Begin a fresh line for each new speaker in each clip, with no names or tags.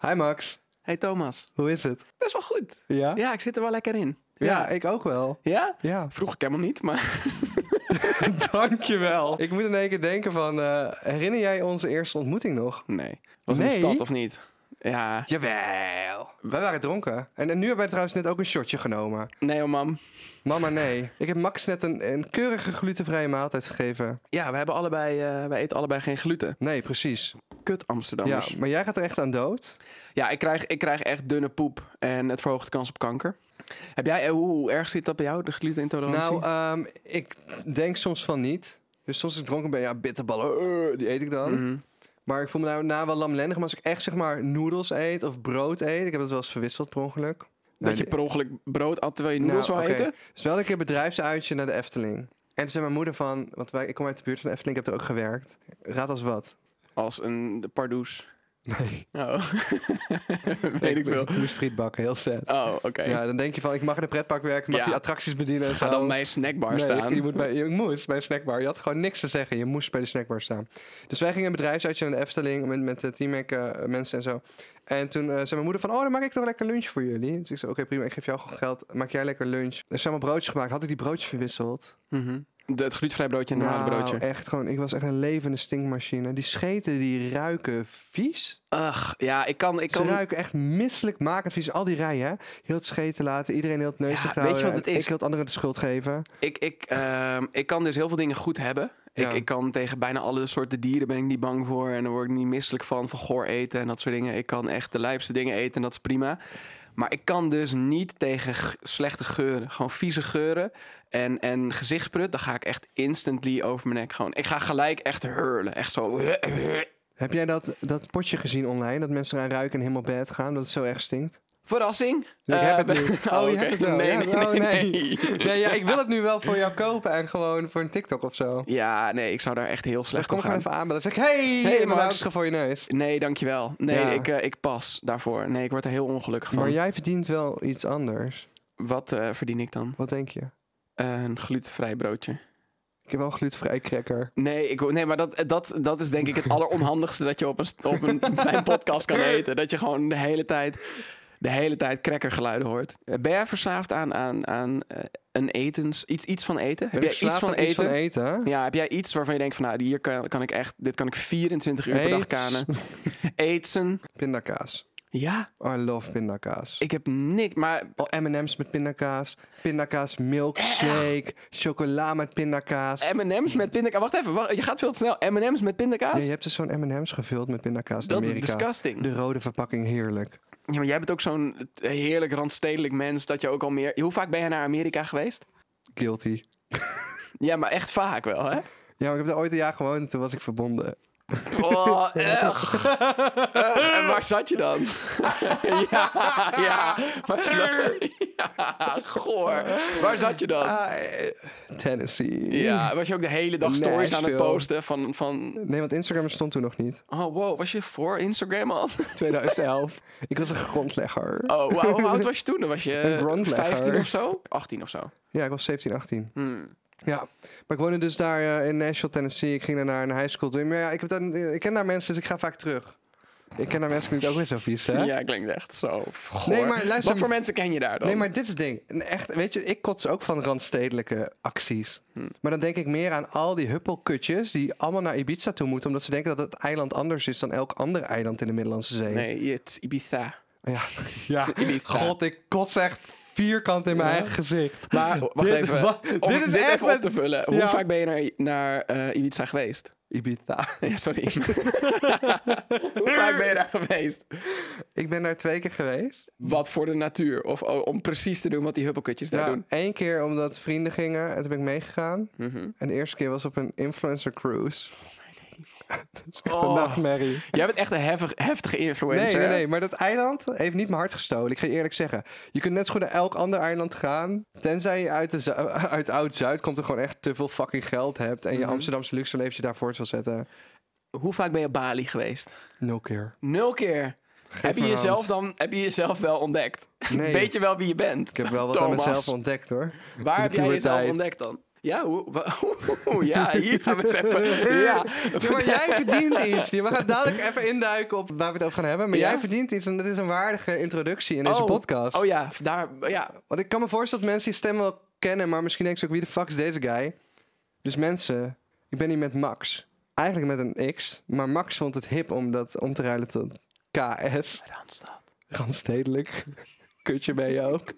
Hi Max,
Hey Thomas,
hoe is het?
best wel goed.
Ja?
Ja, ik zit er wel lekker in.
Ja, ik ook wel.
Ja?
Ja,
Vroeg ik helemaal niet, maar...
dankjewel. Ik moet in één keer denken van, eh, herinner jij onze eerste ontmoeting nog?
Nee. Was het
Nee?
in de stad of niet? Ja.
Jawel. Wij waren dronken. En, en nu hebben wij trouwens net ook een shotje genomen.
Nee, oh mam.
Mama, nee. Ik heb Max net een, een keurige glutenvrije maaltijd gegeven.
Ja, we hebben allebei... eh, wij eten allebei geen gluten.
Nee, precies.
Kut
Ja,
Amsterdammers. Ja,
maar jij gaat er echt aan dood.
ik, krijg, ik krijg echt dunne poep. En het verhoogt de kans op kanker. Heb jij... eh, Hoe, hoe erg zit dat bij jou, de glutenintolerantie?
Nou, ehm, ik denk soms van niet. Dus soms als ik dronken ben, ja, bitterballen, eh, die eet ik dan.
Mhm.
Maar ik voel me daarna wel lamlendig. Maar als ik echt zeg maar noedels eet of brood eet... Ik heb dat wel eens verwisseld per ongeluk. Nou,
Dat je per ongeluk brood at terwijl je noedels
oké.
wil eten?
Dus wel een keer bedrijfsuitje naar de Efteling. En toen zei mijn moeder van... Want wij, ik kom uit de buurt van de Efteling, ik heb er ook gewerkt. Raad als wat.
Als een pardoes.
Nee.
Oh. Weet ik veel.
Ik moest friet bakken, heel sad.
Oh, oké.
Ja, dan denk je van, ik mag in een pretpark werken, ik mag
Ja.
die attracties bedienen en
Ga
zo.
dan bij een snackbar
Nee,
staan.
Je, je moet bij, je moest bij de snackbar. Je had gewoon niks te zeggen. Je moest bij de snackbar staan. Dus wij gingen een bedrijfsuitje naar de Efteling met, met de Team mensen en zo. En toen eh, zei mijn moeder van, oh, dan maak ik toch lekker lunch voor jullie. Dus ik zei, oké, prima, ik geef jou gewoon geld. Maak jij lekker lunch. Dus Er zijn wel broodjes gemaakt. Had ik die broodjes verwisseld?
Mhm. De, het glutenvrij broodje en een normale
Nou,
broodje.
echt gewoon, ik was echt een levende stinkmachine. Die scheten, die ruiken vies.
Ach, ja, ik kan... Ik
Ze
kan
ruiken echt misselijk makend vies. Al die rijen, hè. Heel het scheten laten, iedereen heel het neusig
Ja,
te
weet je
houden.
wat het
En
is?
Ik wil het anderen de schuld geven.
Ik, ik, ehm, ik kan dus heel veel dingen goed hebben.
Ja.
Ik, ik kan tegen bijna alle soorten dieren ben ik niet bang voor. En daar word ik niet misselijk van, van goor eten en dat soort dingen. Ik kan echt de lijpste dingen eten en dat is prima. Maar ik kan dus niet tegen g- slechte geuren. Gewoon vieze geuren en, en gezichtsprut. Dan ga ik echt instantly over mijn nek gewoon. Ik ga gelijk echt hurlen. Echt zo.
Heb jij dat, dat potje gezien online? Dat mensen eraan ruiken en helemaal bed gaan, dat het zo erg stinkt?
Verrassing.
Ik heb
Eh,
het niet.
Oh,
je
oké.
hebt het wel.
Nee,
Ja,
nee,
oh,
nee,
nee.
nee.
Nee, ja, ik wil het nu wel voor jou kopen en gewoon voor een TikTok of zo.
Ja, nee, ik zou daar echt heel
Dan
slecht
kom
op
ik gewoon
gaan.
even aanbellen. Dan zeg ik, hey,
Hey,
hey
Max.
Max. voor je neus.
Nee, dankjewel. Nee,
Ja.
ik, eh, ik pas daarvoor. Nee, ik word er heel ongelukkig van.
Maar jij verdient wel iets anders.
Wat eh, verdien ik dan?
Wat denk je?
Eh, een glutenvrij broodje.
Ik heb wel een glutenvrij cracker.
Nee, ik, nee maar dat, dat, dat is denk ik het alleronhandigste dat je op een, st- op een, bij een podcast kan eten. Dat je gewoon de hele tijd, de hele tijd crackergeluiden hoort. Eh, Ben jij verslaafd aan, aan, aan eh, een etens, iets, iets van eten? Heb
Ben je
jij iets
verslaafd
van
aan iets
eten?
van eten? hè?
Ja, heb jij iets waarvan je denkt van nou, hier kan, kan ik echt, dit kan ik 24 uur per dag
Aids.
kanen. Etsen.
Pindakaas.
Ja,
Oh, I love pindakaas.
ik heb niks, maar
Oh, M&M's met pindakaas. Pindakaas milkshake. Chocola met pindakaas.
Eh, M&M's met pindakaas. Wacht even, wacht, je gaat veel te snel. M&M's met pindakaas?
Ja, je hebt dus zo'n M&M's gevuld met pindakaas in
dat is
Amerika.
disgusting.
De rode verpakking, heerlijk.
Ja, maar jij bent ook zo'n eh, heerlijk randstedelijk mens dat je ook al meer... Hoe vaak ben je naar Amerika geweest?
Guilty.
Ja, maar echt vaak wel, hè?
Ja, maar ik heb daar ooit een jaar gewoond en toen was ik verbonden.
Oh, echt. En waar zat je dan? ja, ja, waar zat- ja, goor. Waar zat je dan?
Ah, eh, Tennessee.
Ja, was je ook de hele dag stories aan het
Nashville.
posten van... van...
Nee, want Instagram stond toen nog niet.
Oh, wow, was je voor Instagram al?
2011. ik was een grondlegger.
Oh, wow, hoe oud was je toen? Dan was
Een
je
grondlegger.
15 of zo? 18 of zo.
Ja, ik was 17, 18.
Hmm.
Ja, maar ik woonde dus daar eh, in Nashville, Tennessee. Ik ging daar naar een high school. toe. Maar ja, ik, heb dan, ik ken daar mensen, dus ik ga vaak terug. Ik ken daar mensen, klinkt ook weer zo vies, hè?
Ja, klinkt echt zo. Goor.
Nee, maar luister-
Wat voor mensen ken je daar dan?
Nee, maar dit is het ding. En Echt, weet je, ik kots ook van randstedelijke acties. Maar dan denk ik meer aan al die huppelkutjes die allemaal naar Ibiza toe moeten... omdat ze denken dat het eiland anders is dan elk ander eiland in de Middellandse Zee.
Nee, het Ibiza.
Ja, ja. god, ik kots echt vierkant in mijn eigen gezicht.
Maar wacht
Dit-
even,
wa-
om
dit
dit,
is echt
even
een-
op te vullen. Hoe
Ja.
vaak ben je naar, naar eh, Ibiza geweest?
Ibiza.
Ja, sorry. Hoe vaak ben je daar geweest?
Ik ben daar twee keer geweest.
Wat voor de natuur? Of o- om precies te doen wat die huppelkutjes daar
Ja,
doen.
Nou, één keer omdat vrienden gingen en toen ben ik meegegaan.
Mhm.
En de eerste keer was op een influencer cruise. Dat is echt een
Oh.
nachtmerrie.
Jij bent echt een hevig- heftige influencer.
Nee, nee,
hè?
nee, maar dat eiland heeft niet mijn hart gestolen. Ik ga je eerlijk zeggen. Je kunt net zo goed naar elk ander eiland gaan. Tenzij je uit, de Zu- uit Oud-Zuid komt en gewoon echt te veel fucking geld hebt.
Mhm.
En je Amsterdamse luxe leefje daarvoor wil zetten.
Hoe vaak ben je op Bali geweest?
Nul keer.
Nul keer. Heb je,
me een
jezelf dan, heb je jezelf wel ontdekt?
Nee.
Weet je wel wie je bent?
Ik heb wel wat aan mezelf ontdekt hoor.
Waar heb jij jezelf
puberteit.
ontdekt dan? Ja, hoe, wa- oeh, ja, hier gaan we eens even. Ja.
Ja, maar jij verdient iets. We gaan dadelijk even induiken op waar we het over gaan hebben. Maar
Ja?
jij verdient iets en dat is een waardige introductie in deze
Oh,
podcast.
Oh ja, daar, ja.
Want ik kan me voorstellen dat mensen die stem wel kennen, maar misschien denken ze ook wie de fuck is deze guy. Dus mensen, ik ben hier met Max. Eigenlijk met een X, maar Max vond het hip om dat om te ruilen tot KS.
Randstad.
Randstedelijk. Kutje ben je ook.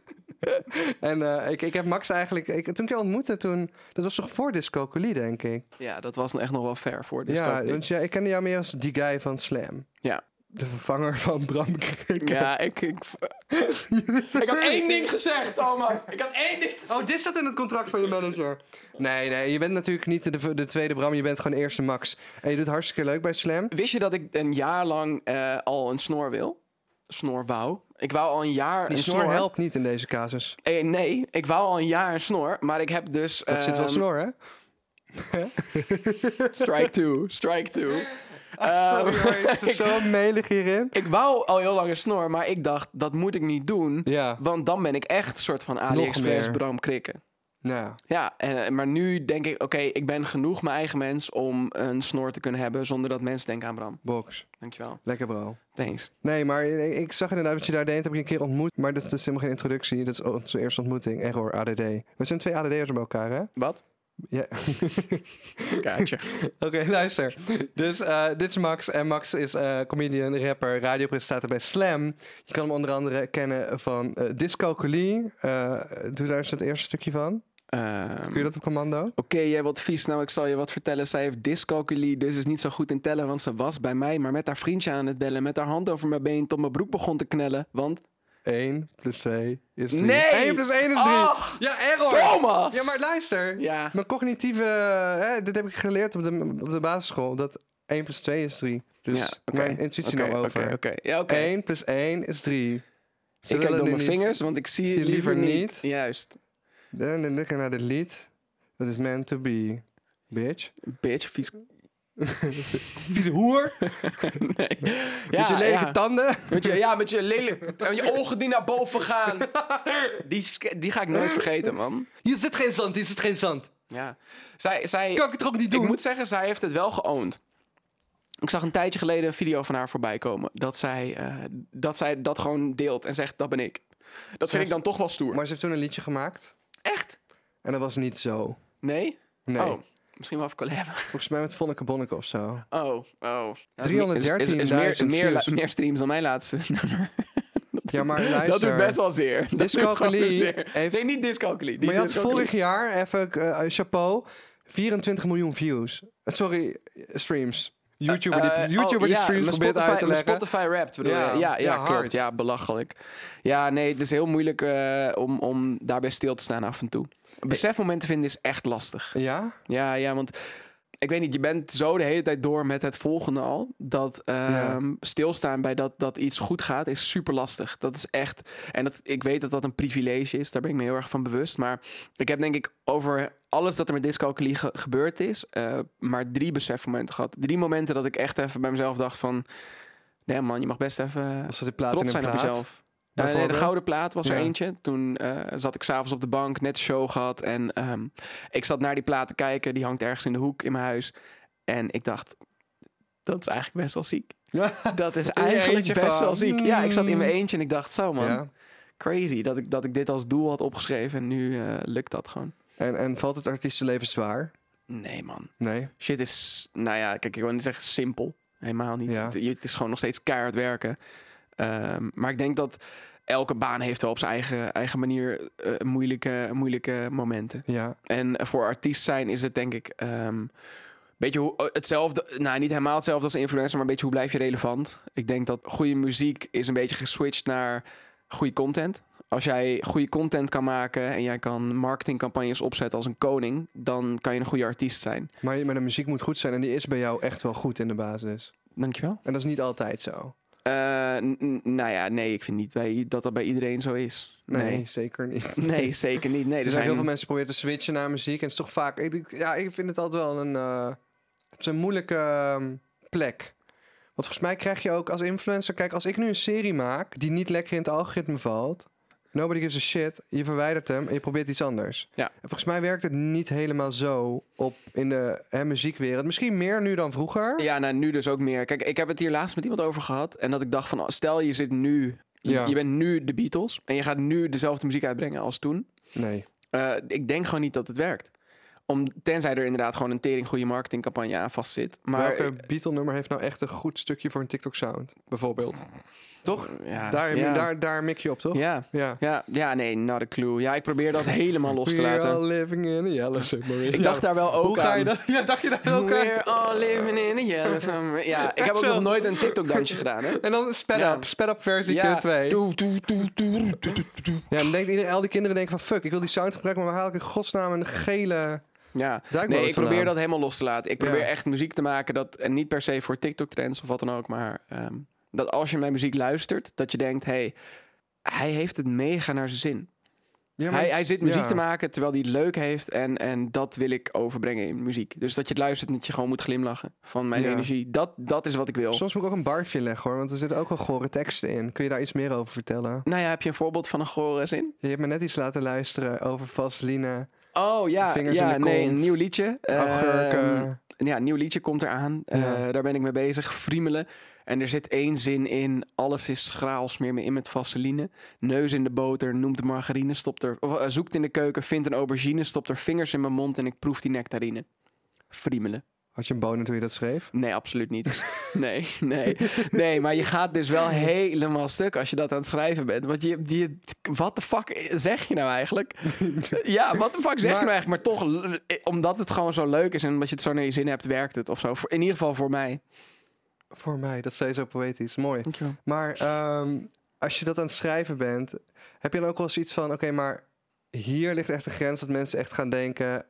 en eh, ik, ik heb Max eigenlijk... Ik, toen ik je ontmoette, toen, dat was toch voor Discocolie, denk ik?
Ja, dat was echt nog wel ver voor dit
ja, want jij- ik kende jou meer als die guy van Slam.
ja.
De vervanger van Bram Krikke.
ja, ik, ik. Ik had één ding gezegd, Thomas. Ik had één ding gezegd.
Oh, dit staat in het contract van je manager. Nee, nee, je bent natuurlijk niet de, de tweede Bram, je bent gewoon eerste Max. En je doet hartstikke leuk bij Slam.
Wist je dat ik een jaar lang eh, al een snor wil? Snor wou. Ik wou al een jaar
Die
een
snor, helpt niet in deze casus.
Eh, nee, ik wou al een jaar een snor, maar ik heb dus...
Dat zit wel snor, hè?
Strike two, strike two.
Ah,
Eh,
Sorry, hoor, is zo melig hierin.
Ik wou al heel lang een snor, maar ik dacht, dat moet ik niet doen.
Ja,
Want dan ben ik echt soort van AliExpress
meer.
Bram Krikken.
nou,
Ja, en, eh, maar nu denk ik, oké, ik ben genoeg mijn eigen mens om een snor te kunnen hebben zonder dat mensen denken aan Bram.
box.
Dankjewel.
Lekker bro.
Thanks.
Nee, maar ik, ik zag inderdaad wat je daar deed. Heb ik je een keer ontmoet. Maar dat is helemaal geen introductie. Dat is onze eerste ontmoeting. Error, ADD. We zijn twee ADD'ers bij elkaar, hè?
Wat?
Ja.
Kaartje.
Oké, luister. Dus eh, dit is Max. En Max is eh, comedian, rapper, radiopresentator bij Slam. Je kan hem onder andere kennen van eh Discalculie. Eh, doe daar eens het eerste stukje van.
Ehm,
Kun je dat op commando?
Oké, jij wat vies. Nou, ik zal je wat vertellen. Zij heeft dyscalculie, dus is niet zo goed in tellen. Want ze was bij mij, maar met haar vriendje aan het bellen. Met haar hand over mijn been tot mijn broek begon te knellen. Want...
1 plus 2 is 3.
Nee!
1 plus 1 is 3.
Ach!
Ja, error!
Thomas!
Ja, maar luister.
Ja.
Mijn cognitieve... eh, dit heb ik geleerd op de, op de basisschool. Dat 1 plus 2 is 3. Dus
Ja, oké.
mijn intuïtie
Oké,
nam over.
Oké, oké. Ja, oké.
1 plus 1 is 3.
Ik kijk door mijn vingers, want ik zie het
je liever
liever niet.
niet.
Juist.
Dan dan ik naar dit lied. Dat is meant to be. Bitch.
Bitch, vies.
Vieze hoer.
Nee. Ja,
met je lelijke
ja.
tanden.
Met je, ja, met je lelijk... En je ogen die naar boven gaan. Die, die ga ik nooit vergeten, man.
Hier zit geen zand. Hier zit geen zand.
Ja. Zij, zij,
Kan ik het er ook niet doen?
Ik moet zeggen, zij heeft het wel geowned. Ik zag een tijdje geleden een video van haar voorbij komen. Dat zij, eh, dat, zij dat gewoon deelt en zegt, dat ben ik. Dat vind ik dan toch wel stoer.
Maar ze heeft toen een liedje gemaakt.
echt?
En dat was niet zo.
Nee?
Nee.
Oh, misschien wel even collab.
Volgens mij met Vonneke Bonneke of zo.
Oh, oh. Dat is meer- is- is- is
313.000
meer, meer,
views.
meer streams dan mijn laatste nummer.
Ja, maar
Dat
luister.
doet best wel zeer. Dat doet gewoon
Dyscalculie
zeer.
heeft-
Nee, niet dyscalculie. die
Maar je had
dyscalculie.
vorig jaar, even eh, chapeau, 24 miljoen views. Eh, sorry, eh, streams. YouTuber die,
Eh,
YouTuber
oh,
die
ja,
streams
mijn
probeert
Spotify,
uit te
mijn
leggen.
Spotify rapt, bedoel
Ja,
je? Ja, ja,
ja, hard.
klopt. Ja, belachelijk. Ja, nee, het is heel moeilijk eh, om, om daarbij stil te staan af en toe.
Eh,
Een besefmomenten vinden is echt lastig.
Ja?
Ja, ja, want ik weet niet, je bent zo de hele tijd door met het volgende al. Dat ehm,
Ja.
stilstaan bij dat, dat iets goed gaat is super lastig. Dat is echt. En dat, ik weet dat dat een privilege is, daar ben ik me heel erg van bewust. Maar ik heb denk ik over alles dat er met dyscalculie ge- gebeurd is, eh, maar drie besefmomenten gehad. Drie momenten dat ik echt even bij mezelf dacht van. Nee man, je mag best even
Was dat die plaat
trots
in een
zijn op
plaat?
jezelf. Eh, nee, de
Bijvoorbeeld?
gouden plaat was er
Ja.
eentje. Toen eh, zat ik s'avonds op de bank, net een show gehad. En ehm, ik zat naar die plaat te kijken. Die hangt ergens in de hoek in mijn huis. En ik dacht, dat is eigenlijk best wel ziek. Dat is eigenlijk
eentje
best
gewoon. mm.
wel ziek. Ja, ik zat in mijn eentje en ik dacht, zo man,
Ja.
crazy. Dat ik, dat ik dit als doel had opgeschreven en nu eh, lukt dat gewoon.
En, en valt het artiestenleven zwaar?
Nee man,
Nee.
shit is, nou ja, kijk, ik wil niet zeggen simpel. Helemaal niet.
Ja.
Het, het is gewoon nog steeds keihard werken. Ehm, maar ik denk dat elke baan heeft wel op zijn eigen, eigen manier eh, moeilijke, moeilijke momenten.
Ja.
En voor artiest zijn is het denk ik een beetje hoe, eh, hetzelfde, nou niet helemaal hetzelfde als een influencer, maar een beetje hoe blijf je relevant. Ik denk dat goede muziek is een beetje geswitcht naar goede content. Als jij goede content kan maken en jij kan marketingcampagnes opzetten als een koning, dan kan je een goede artiest zijn.
Maar, je- maar de muziek moet goed zijn en die is bij jou echt wel goed in de basis.
Dankjewel.
En dat is niet altijd zo.
Eh, n- n- nou ja, nee, ik vind niet bij, dat dat bij iedereen zo is.
Nee,
Nee,
zeker niet.
nee, zeker niet. Nee,
er zijn, heel veel mensen proberen te switchen naar muziek. En het is toch vaak... Ik, ik- ja, ik vind het altijd wel een... eh, het is een moeilijke ehm, plek. Want volgens mij krijg je ook als influencer... Kijk, als ik nu een serie maak die niet lekker in het algoritme valt... Nobody gives a shit. Je verwijdert hem en je probeert iets anders.
Ja.
En volgens mij werkt het niet helemaal zo op in de hè, muziekwereld. Misschien meer nu dan vroeger.
Ja, nou nu dus ook meer. Kijk, ik heb het hier laatst met iemand over gehad. En dat ik dacht van, oh, stel je zit nu...
Ja.
Je bent nu de Beatles. En je gaat nu dezelfde muziek uitbrengen als toen.
Nee.
Eh, ik denk gewoon niet dat het werkt. Om, tenzij er inderdaad gewoon een tering goede marketingcampagne aan vast zit. Maar
Welke Beatle-nummer heeft nou echt een goed stukje voor een TikTok-sound? Bijvoorbeeld. Toch?
ja,
Daar,
ja,
daar, daar mik je op, toch?
ja,
Ja.
ja, ja, nee, not a clue. Ja, ik probeer dat helemaal los te
We are
laten.
all living in a yellow submarine. Nou,
Ik dacht daar wel ook
Hoe ga je
aan.
dat? Ja, dacht je daar ook aan?
We're all living in a yellow summer. Ja, ik heb ook
Zo.
nog nooit een TikTok-dansje gedaan, hè?
En dan sped
Ja.
up. Sped up versie
Ja,
keer 2.
toe, toe, toe, toe, toe, toe, toe.
Ja, dan denkt iedereen, al die kinderen denken van... Fuck, ik wil die sound gebruiken, maar waar haal ik in godsnaam een gele...
Ja,
Duikboot
nee, ik
vandaan.
probeer dat helemaal los te laten. Ik probeer
Ja.
echt muziek te maken dat, en niet per se voor TikTok-trends of wat dan ook, maar ehm, dat als je mijn muziek luistert, dat je denkt, hey, hij heeft het mega naar zijn zin.
Ja, maar
hij,
het-
hij zit muziek
ja.
te maken terwijl hij het leuk heeft en, en dat wil ik overbrengen in muziek. Dus dat je het luistert en dat je gewoon moet glimlachen van mijn
Ja.
energie. Dat, dat is wat ik wil.
Soms moet ik ook een barfje leggen hoor, want er zitten ook wel gore teksten in. Kun je daar iets meer over vertellen?
Nou ja, heb je een voorbeeld van een gore zin?
Je hebt me net iets laten luisteren over vaseline,
Oh ja,
Vingers
ja
in de
nee,
kont.
een nieuw liedje. Ehm,
agurken.
ja, een nieuw liedje komt eraan. Eh,
Ja.
daar ben ik mee bezig. Friemelen. En er zit één zin in. Alles is schraal, smeer me in met vaseline. Neus in de boter, noemt de margarine, stopt er... Of, eh, zoekt in de keuken, vindt een aubergine, stopt er vingers in mijn mond en ik proef die nectarine. Friemelen.
Had je een bonen toen je dat schreef?
Nee, absoluut niet. Nee, nee. Nee, maar je gaat dus wel helemaal stuk als je dat aan het schrijven bent. Want je, je wat de fuck zeg je nou eigenlijk? Ja, wat de fuck zeg
Maar-
je nou eigenlijk? Maar toch, l- eh, omdat het gewoon zo leuk is en omdat je het zo naar je zin hebt, werkt het of zo. Voor- In ieder geval voor mij.
Voor mij, dat zei je zo poëtisch. Mooi.
Dankjewel.
Maar ehm, als je dat aan het schrijven bent, heb je dan ook wel eens iets van... Oké, maar hier ligt echt de grens dat mensen echt gaan denken...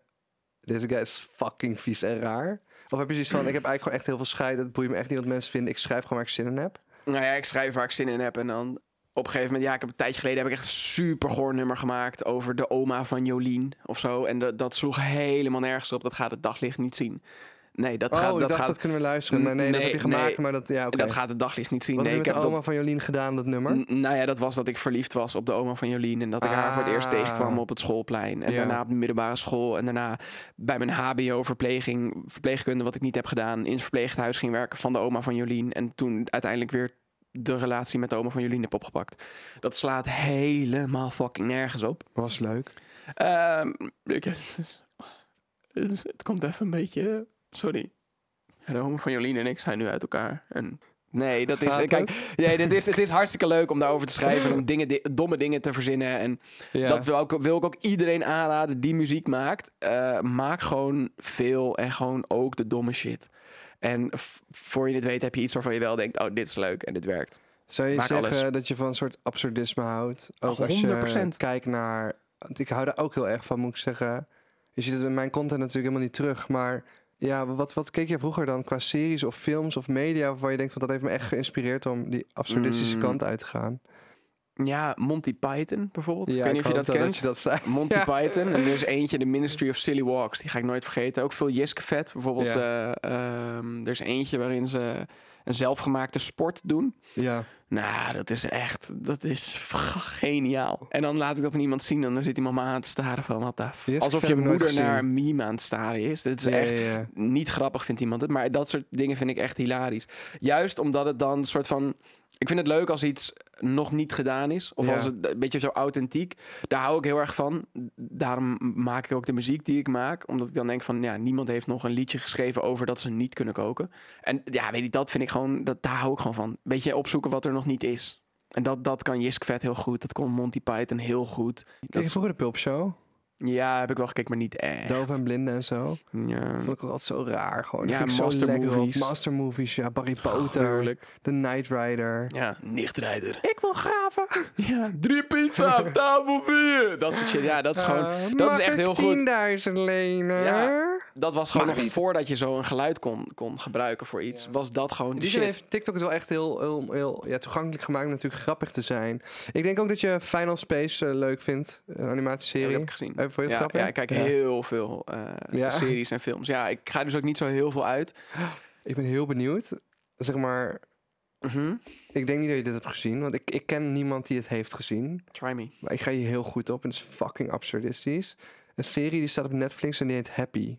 Deze guy is fucking vies en raar. Of heb je zoiets van, ik heb eigenlijk gewoon echt heel veel scheid. Het boeit me echt niet wat mensen vinden. Ik schrijf gewoon waar ik zin in heb.
Nou ja, ik schrijf waar ik zin in heb en dan op een gegeven moment, ja, ik heb een tijdje geleden heb ik echt een super goor nummer gemaakt over de oma van Jolien of zo. En dat, dat sloeg helemaal nergens op. Dat gaat het daglicht niet zien. Nee, dat
oh,
gaat,
ik
dat
dacht,
gaat,
dat kunnen we luisteren. Maar nee, dat
Nee,
heb je gemaakt.
nee.
Maar dat, ja, oké.
dat gaat het daglicht niet zien.
Wat
nee,
heb
ik
je
heb
met de
dat
oma van Jolien gedaan, dat nummer?
N- Nou ja, dat was dat ik verliefd was op de oma van Jolien. En dat ik haar voor het eerst
Ah.
tegenkwam op het schoolplein. En
Ja.
daarna op de middelbare school. En daarna bij mijn HBO-verpleging, verpleegkunde, wat ik niet heb gedaan. In het verpleeghuis ging werken van de oma van Jolien. En toen uiteindelijk weer de relatie met de oma van Jolien heb opgepakt. Dat slaat helemaal fucking nergens op.
Was leuk.
Ehm, ik- het, is- het is- het komt even een beetje. Sorry. De homo van Jolien en ik zijn nu uit elkaar. En nee, dat is.
Gaat
Kijk, nee, dit is, het is hartstikke leuk om daarover te schrijven. en Om dingen, di- domme dingen te verzinnen. En
Ja.
dat wil, ik- wil ik ook iedereen aanraden die muziek maakt. Eh, maak gewoon veel en gewoon ook de domme shit. En v- voor je het weet heb je iets waarvan je wel denkt: oh, dit is leuk en dit werkt.
Zou je
Maak
zeggen
alles.
dat je van een soort absurdisme houdt? Ook als je
100%.
kijkt naar... want Ik hou daar ook heel erg van, moet ik zeggen. Je ziet het in mijn content natuurlijk helemaal niet terug. Maar ja, wat, wat keek je vroeger dan qua series of films of media... waarvan je denkt, van, dat heeft me echt geïnspireerd om die absurdistische
Mm.
kant uit te gaan?
Ja, Monty Python bijvoorbeeld. ik weet niet of je
hoop
dat
wel
kent.
dat je dat zei.
Monty Python. En er is eentje, de Ministry of Silly Walks. Die ga ik nooit vergeten. Ook veel Jiske Vet. Bijvoorbeeld, eh, ehm, er is eentje waarin ze een zelfgemaakte sport doen.
Ja.
Nou, dat is echt, dat is g- geniaal. En dan laat ik dat aan iemand zien. En dan zit iemand me aan het staren van, wat de f-
Jiske
Alsof
Vet
je
heb ik nooit
moeder
gezien.
naar een meme aan het staren is. Dit is
Ja,
echt
ja, ja.
niet grappig, vindt iemand het. Maar dat soort dingen vind ik echt hilarisch. Juist omdat het dan een soort van... Ik vind het leuk als iets nog niet gedaan is. Of
Ja.
als het een beetje zo authentiek. Daar hou ik heel erg van. Daarom maak ik ook de muziek die ik maak. Omdat ik dan denk van... Ja, niemand heeft nog een liedje geschreven over dat ze niet kunnen koken. En ja, weet je, dat vind ik gewoon... Dat, daar hou ik gewoon van. Beetje opzoeken wat er nog niet is. En dat, dat kan Jisk Vet heel goed. Dat kon Monty Python heel goed.
Kijk,
Dat is-
vroeger de Pulp Show.
ja, heb ik wel gekeken, maar niet echt.
Doof en blinden en zo.
Ja,
Vond ik ook altijd zo raar. Gewoon.
Mm. Ja,
Vind ik zo
master
lekker op.
movies.
Master movies, ja. Barry Potter.
gruwelijk.
The Knight Rider.
Ja, nichtrijder.
Ik wil graven.
Ja, drie pizza op tafel vier. Dat soort shit. Ja, dat is gewoon.
Eh,
dat
mag
is echt
ik
heel goed.
10.000 lenen.
Ja. Dat was gewoon
Mag
nog
niet.
voordat je zo een geluid kon, kon gebruiken voor iets. Was dat gewoon
In
de
die zin
shit.
heeft TikTok het wel echt heel, heel, heel ja, toegankelijk gemaakt om natuurlijk grappig te zijn. Ik denk ook dat je Final Space eh, leuk vindt, een
Ja,
animatieserie.
dat heb ik gezien.
Eh, vond je het
ja,
grappig?
ja, ik kijk
Ja.
heel veel eh,
Ja.
series en films. Ja, ik ga dus ook niet zo heel veel uit.
Ik ben heel benieuwd. Zeg maar,
Mhm.
Ik denk niet dat je dit hebt gezien, want ik, ik ken niemand die het heeft gezien.
Try me.
Maar ik ga hier heel goed op en het is fucking absurdistisch. Een serie die staat op Netflix en die heet Happy.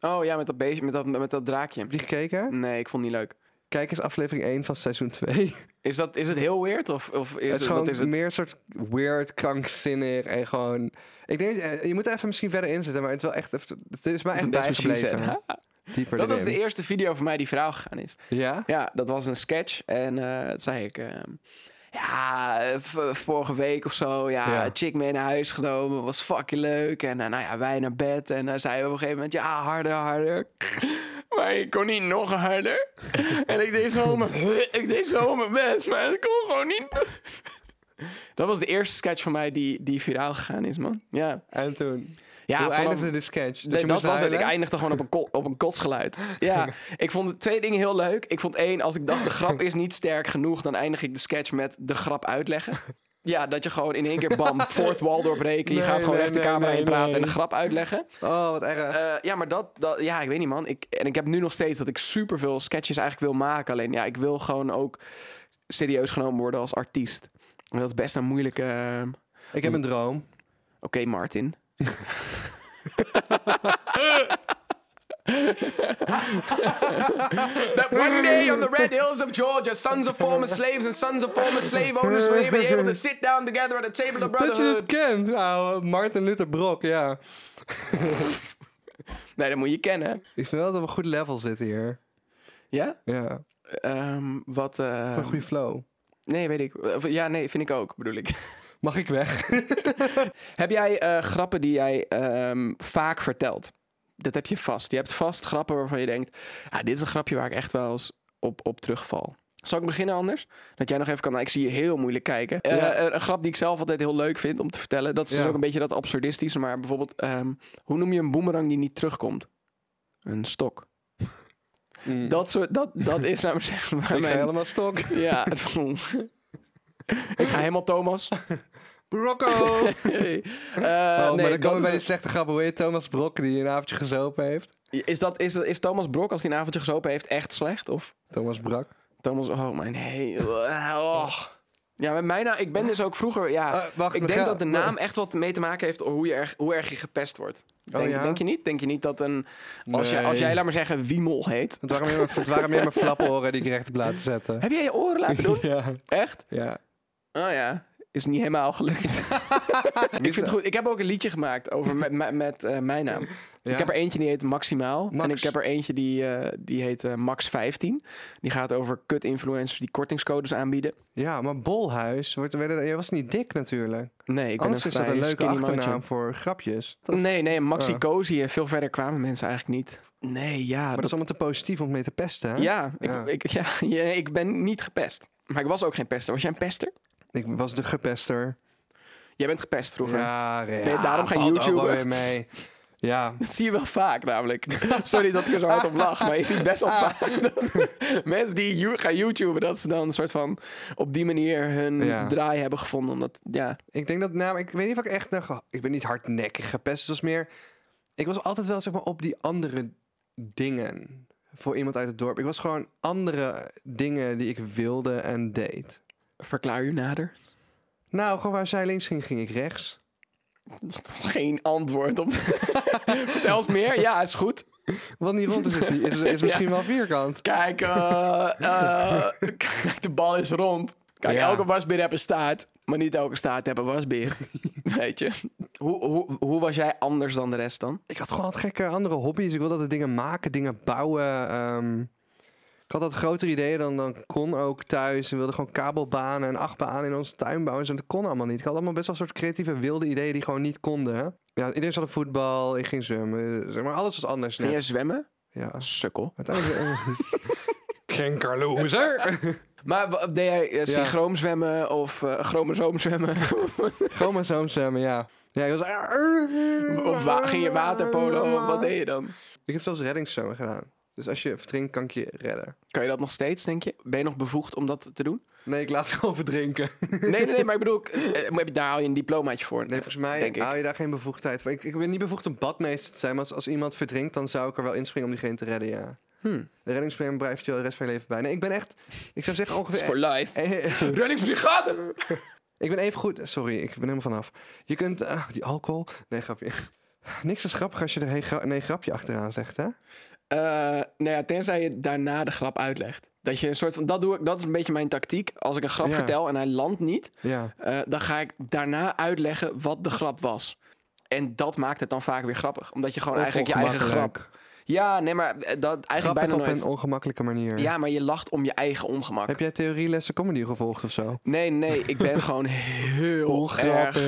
Oh ja, met dat, beestje, met dat, met dat draakje.
Heb je die gekeken?
Nee, ik vond het niet leuk.
Kijk eens aflevering 1 van seizoen 2.
Is, dat, is het heel weird? Of, of is
het is
het,
gewoon
wat is het?
meer een soort weird, krankzinnig en gewoon... Ik denk, eh, je moet er even misschien verder inzetten, maar het is wel echt... even- Het is mij echt
That's what she
bijgebleven.
said.
Dieper
Dat was de e-
erin.
eerste video van mij die viraal gegaan is.
Ja?
Ja, dat was een sketch. En eh, dat zei ik. ehm, ja, eh, v- vorige week of zo. Ja,
Ja.
een chick mee naar huis genomen. Was fucking leuk. En eh, nou ja, wij naar bed. En dan zei we op een gegeven moment: ja, harder, harder. Maar ik kon niet nog harder. en ik deed zo mijn, ik deed zo mijn best, maar het kon gewoon niet. dat was de eerste sketch van mij die, die viraal gegaan is, man. Ja,
En toen? Ja,
ja
Hoe
vanaf-
eindigde de sketch? Dus
Nee,
je
dat
moest
was het. Ik
huilen?
eindigde gewoon op een, ko- op een kotsgeluid. Ja, ik vond twee dingen heel leuk. Ik vond één, als ik dacht de grap is niet sterk genoeg, dan eindig ik de sketch met de grap uitleggen. Ja, dat je gewoon in één keer bam, fourth wall doorbreken. Je
Nee,
gaat gewoon
nee,
recht de
nee,
camera
nee,
in praten en de
nee.
grap uitleggen.
Oh, wat erg.
Eh, ja, maar dat, dat, ja, ik weet niet man. Ik, en ik heb nu nog steeds dat ik superveel sketches eigenlijk wil maken. Alleen ja, ik wil gewoon ook serieus genomen worden als artiest. En dat is best een moeilijke... eh, Oké,
ik heb een droom.
eh, Martin. That one day on the red hills of Georgia, sons of former slaves and sons of former slave owners will be able to sit down together at a table of
Dat je het
brotherhood.
kent, ouwe. Martin Luther Brock, ja.
Nee, dat moet je kennen.
Ik vind wel dat we op een goed level zitten hier.
Ja?
Ja,
Ehm, wat... eh,
een goede flow.
nee, weet ik. Of, Ja, nee, vind ik ook, bedoel ik.
Mag ik weg?
Heb jij eh, grappen die jij ehm, vaak vertelt? Dat heb je vast. Je hebt vast grappen waarvan je denkt... Ah, dit is een grapje waar ik echt wel eens op, op terugval. Zal ik beginnen anders? Dat jij nog even kan... Nou, ik zie je heel moeilijk kijken. Eh,
Ja.
eh, een grap die ik zelf altijd heel leuk vind om te vertellen. Dat is dus
Ja.
ook een beetje dat absurdistische. Maar bijvoorbeeld... ehm, hoe noem je een boemerang die niet terugkomt? Een stok.
Mm.
Dat, soort, dat, dat is namelijk echt bij
ik ga
mijn-
helemaal stok.
Ja, het Ik ga helemaal Thomas.
Brocco!
Hey. Eh,
Oh,
nee,
maar dan
dat
komen we
is
bij
een-
die slechte grappen. Hoe heet Thomas Brok die een avondje gezopen heeft?
Is, dat, is, dat- is Thomas Brok, als hij een avondje gezopen heeft, echt slecht? Of
Thomas Brak.
Thomas, oh mijn hemel. Oh. Ja, met mij nou, ik ben dus ook vroeger, ja.
Eh, wacht,
ik
we
denk
gaan-
dat de naam echt wat mee te maken heeft hoe, je erg, hoe erg je gepest wordt. Denk,
Oh, ja?
denk je niet? Denk je niet dat een, als, je,
Nee.
als jij, laat maar zeggen, Wiemel heet.
Het waren meer mijn- het waren meer mijn flappenoren die ik recht heb laten zetten.
Heb jij je oren laten doen?
Ja.
Echt?
ja.
Oh ja, is niet helemaal gelukt. ik vind het goed. Ik heb ook een liedje gemaakt over met, met, met, eh, mijn naam.
Ja?
Ik heb er eentje die heet Maximaal. En
Max.
ik heb er eentje die, eh, die heet eh, Max15. Die gaat over kut-influencers die kortingscodes aanbieden.
Ja, maar Bolhuis. Wordt, werden- jij was niet dik natuurlijk.
Nee, ik ben
Anders
een
is dat
vrij
een leuke
skinny
achternaam
mannetje.
voor grapjes. Dat-
Nee, nee, Maxi
Ah.
Cozy. En veel verder kwamen mensen eigenlijk niet. Nee, ja.
maar dat
dat-
is allemaal te positief om mee te pesten, hè?
ja, ik,
Ja.
Ik, ja, ja, ik ben niet gepest. Maar ik was ook geen pester. Was jij een pester?
Ik was de gepester.
Jij bent gepest vroeger.
Ja, ja,
je daarom geen
valt ook wel
YouTuber?
weer mee. Ja.
Dat zie je wel vaak namelijk. Sorry dat ik er zo hard op lach, maar je ziet best wel vaak dat mensen die you- gaan YouTuben, dat ze dan een soort van op die manier hun
Ja.
draai hebben gevonden. Omdat, ja,
Ik denk dat, nou, ik weet niet of ik echt, nou, ge- ik ben niet hardnekkig gepest. Het was meer, ik was altijd wel zeg maar op die andere dingen voor iemand uit het dorp. Ik was gewoon andere dingen die ik wilde en deed.
verklaar u nader.
Nou, gewoon waar zij links ging, ging ik rechts.
Dat is toch geen antwoord op. Vertel eens meer. Ja, is goed.
Want die rond is, is, niet- is, is misschien wel vierkant.
Kijk, eh, eh, kijk, de bal is rond. Kijk,
Ja.
elke wasbeer heeft een staart, maar niet elke staart heeft een wasbeer. Weet je. Hoe, hoe, hoe was jij anders dan de rest dan?
Ik had gewoon wat gekke andere hobby's. Ik wilde altijd dingen maken, dingen bouwen. ehm. ik had altijd grotere ideeën dan, dan kon ook thuis. We wilden gewoon kabelbanen en achtbanen in onze tuin bouwen. en zo. Dat kon allemaal niet. Ik had allemaal best wel een soort creatieve wilde ideeën die gewoon niet konden. hè. Ja, iedereen zat op voetbal, ik ging zwemmen. eh, Zeg maar alles was anders
Ging jij
net.
zwemmen?
Ja,
Sukkel.
uiteindelijk... eh, Kenkerloser!
Maar wa- deed jij eh, synchroom zwemmen of eh chromosoom zwemmen?
Chromosoom zwemmen, ja. Ja, ik was... eh.
of wa- ging je waterpolo? Wat deed je dan?
Ik heb zelfs reddingszwemmen gedaan. Dus als je verdrinkt, kan ik je redden.
Kan je dat nog steeds, denk je? Ben je nog bevoegd om dat te doen?
Nee, ik laat het gewoon verdrinken.
Nee, nee, nee, maar ik bedoel, eh, maar daar haal je een diplomaatje voor.
Nee, volgens mij
denk ik.
haal je daar geen bevoegdheid voor. Ik, ik ben niet bevoegd om badmeester te zijn, maar als, als iemand verdrinkt, dan zou ik er wel inspringen om diegene te redden, ja.
Hmm.
De reddingspremie blijft je de rest van je leven bij. Nee, ik ben echt... Ik zou zeggen
Het is
ongeveer...
voor life.
Eh, eh,
Reddingsbrigade!
ik ben even goed... Sorry, ik ben helemaal vanaf. Je kunt... ah, die alcohol... Nee, grapje. Niks is grappig als je er een gra- nee, grapje achteraan zegt, hè?
Eh, nou ja, tenzij je daarna de grap uitlegt. Dat je een soort van, dat doe ik, dat is een beetje mijn tactiek. Als ik een grap
Ja.
vertel en hij landt niet,
Ja.
eh, dan ga ik daarna uitleggen wat de grap was. En dat maakt het dan vaak weer grappig. Omdat je gewoon
Of
eigenlijk je eigen
ongemakkelijk.
grap. Ja, nee, maar eh, dat eigenlijk
Grappig op
bijna nooit.
een ongemakkelijke manier.
Ja, maar je lacht om je eigen ongemak.
Heb jij theorielessen comedy gevolgd of zo?
Nee, nee, ik ben gewoon heel erg.
Ongrappig.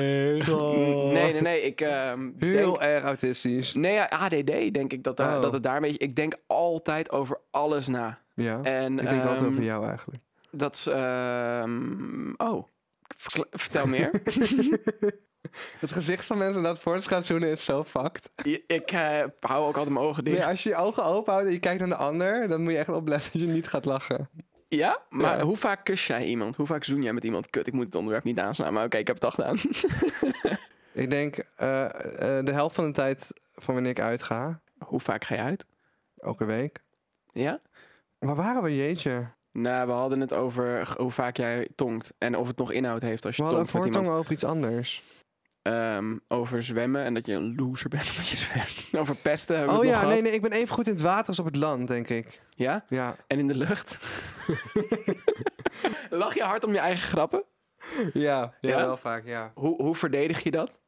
Nee, nee, nee. Ik ehm,
Heel
denk.
erg autistisch.
Nee, ja, ADD denk ik dat, daar-
Oh.
dat het daar een beetje. Ik denk altijd over alles na.
Ja.
En,
ik denk altijd
ehm,
over jou eigenlijk.
Dat is. ehm, oh, Verkla- vertel meer.
Het gezicht van mensen dat voorts gaat zoenen is zo fucked.
I- ik eh, hou ook altijd mijn ogen dicht.
Nee, als je je ogen open houdt en je kijkt naar de ander, dan moet je echt opletten dat je niet gaat lachen.
Ja, maar
Ja.
hoe vaak kus jij iemand? Hoe vaak zoen jij met iemand? Kut, ik moet het onderwerp niet aanslaan. Maar oké, ik heb het al gedaan.
Ik denk eh, eh, de helft van de tijd van wanneer ik uitga,
hoe vaak ga je uit?
elke week.
Ja?
Waar waren we, jeetje?
Nou, we hadden het over g- hoe vaak jij tongt. En of het nog inhoud heeft als
We
je
hadden een
tongt met
voortong
iemand.
over iets anders.
Ehm, over zwemmen en dat je een loser bent omdat je zwemt. over pesten hebben
Oh
we het
ja,
nog
nee,
gehad.
nee, ik ben even goed in het water als op het land, denk ik.
Ja?
Ja,
En in de lucht. Lach je hard om je eigen grappen?
ja,
Ja?
wel vaak, ja.
Hoe, hoe verdedig je dat?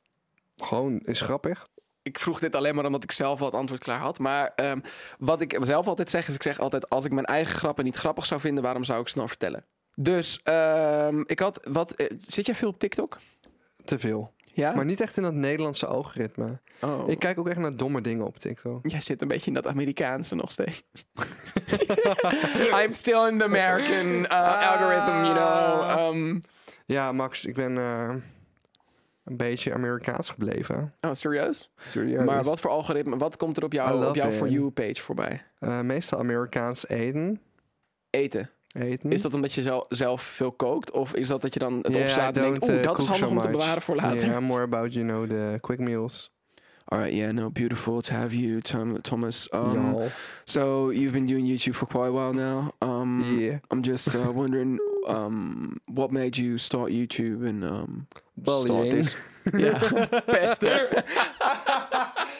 Gewoon is grappig.
ik vroeg dit alleen maar omdat ik zelf al het antwoord klaar had. Maar ehm, wat ik zelf altijd zeg, is ik zeg altijd... als ik mijn eigen grappen niet grappig zou vinden... waarom zou ik ze dan vertellen? Dus ehm, ik had... Wat, eh, zit jij veel op TikTok?
Te veel.
Ja?
Maar niet echt in dat Nederlandse algoritme.
Ah. oh.
Ik kijk ook echt naar domme dingen op TikTok.
Jij zit een beetje in dat Amerikaanse nog steeds. I'm still in the American uh,
Ah.
algorithm, you know. Ehm,
Ja, Max, ik ben eh, een beetje Amerikaans gebleven.
oh, serieus? Maar wat voor algoritme... Wat komt er op
I
jouw
love
op jouw
it.
For You-page voorbij?
Eh, meestal Amerikaans eten.
Eten.
eten.
Is dat omdat je zel- zelf veel kookt? Of is dat dat je dan het
Hm? Yeah,
opslaat en
don't,
denkt... Oeh,
eh,
dat is
cook
handig
so
om te
much.
bewaren voor later.
Yeah, more about, you know, the quick meals.
Alright, yeah, no, beautiful to have you, Tom, Thomas. Um,
Y'all.
so you've been doing YouTube for quite a while now. Um,
yeah.
I'm just uh, wondering, um, what made you start YouTube and um, start
Bullying.
this? Ja, pesten.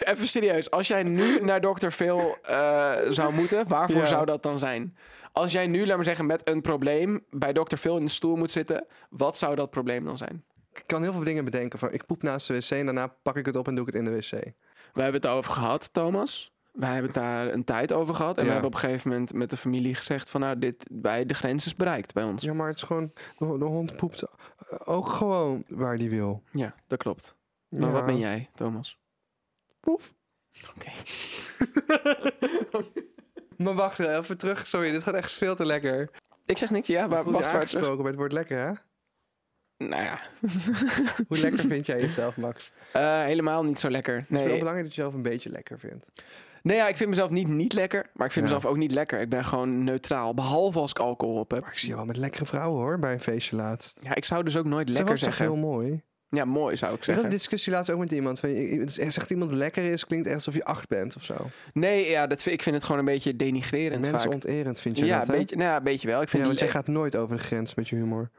Even serieus, als jij nu naar Dr. Phil eh, zou moeten, waarvoor
Ja.
zou dat dan zijn? Als jij nu, laat maar zeggen, met een probleem bij Dr. Phil in de stoel moet zitten, wat zou dat probleem dan zijn?
Ik kan heel veel dingen bedenken. Van, ik poep naast de wc en daarna pak ik het op en doe ik het in de wc.
We hebben het over gehad, Thomas. Wij hebben het daar een tijd over gehad. En
Ja.
we hebben op een gegeven moment met de familie gezegd van nou, dit bij de grens is bereikt bij ons. Ja,
Ja, maar het is gewoon... De, de hond poept eh, ook gewoon waar die wil.
dat klopt. Maar
Ja.
wat ben jij, Thomas?
Poef.
Oké.
Maar wacht even terug. Sorry, dit gaat echt veel te lekker.
Ik zeg niks, ja,
Maar
maar
voel je
wacht maar terug.
aangesproken bij het woord lekker, hè?
Nou ja,
Hoe lekker vind jij jezelf, Max?
eh, helemaal niet zo lekker.
Het is wel
Nee.
belangrijk dat je zelf een beetje lekker vindt.
nee, ja, ik vind mezelf niet niet lekker, maar ik vind
Ja.
mezelf ook niet lekker. Ik ben gewoon neutraal, behalve als ik alcohol op heb.
Maar ik zie je wel met lekkere vrouwen hoor, bij een feestje laatst.
Ja, ik zou dus ook nooit
Ze
lekker
was toch
zeggen.
heel mooi.
Ja, mooi zou ik
Ik had een
zeggen.
discussie laatst ook met iemand. Van, i- i- zegt iemand lekker is, klinkt echt alsof je acht bent of zo.
Nee, ja, dat, vind- ik vind het gewoon een beetje denigrerend
Mensen
vaak.
onterend vind je
Ja,
dat,
een
hè?
beetje, nou ja, een beetje wel. Ik vind
Ja,
die
want jij gaat nooit over de grens met je humor.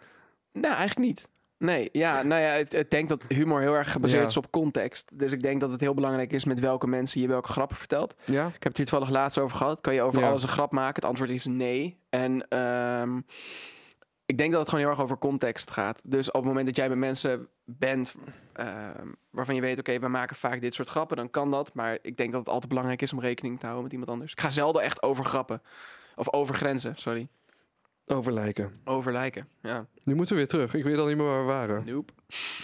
Nou, eigenlijk niet. Nee, ja, nou ja, het- ik denk dat humor heel erg gebaseerd
Ja.
is op context. Dus ik denk dat het heel belangrijk is met welke mensen je welke grappen vertelt.
Ja?
Ik heb het hier toevallig laatst over gehad. Kan je over
Ja.
alles een grap maken? Het antwoord is nee. En ehm, ik denk dat het gewoon heel erg over context gaat. Dus op het moment dat jij met mensen bent ehm, waarvan je weet, oké, we maken vaak dit soort grappen, dan kan dat. Maar ik denk dat het altijd belangrijk is om rekening te houden met iemand anders. Ik ga zelden echt over grappen. Of over grenzen, sorry.
Overlijken.
Over lijken. Ja.
Nu moeten we weer terug. Ik weet al niet meer waar we waren.
Nope.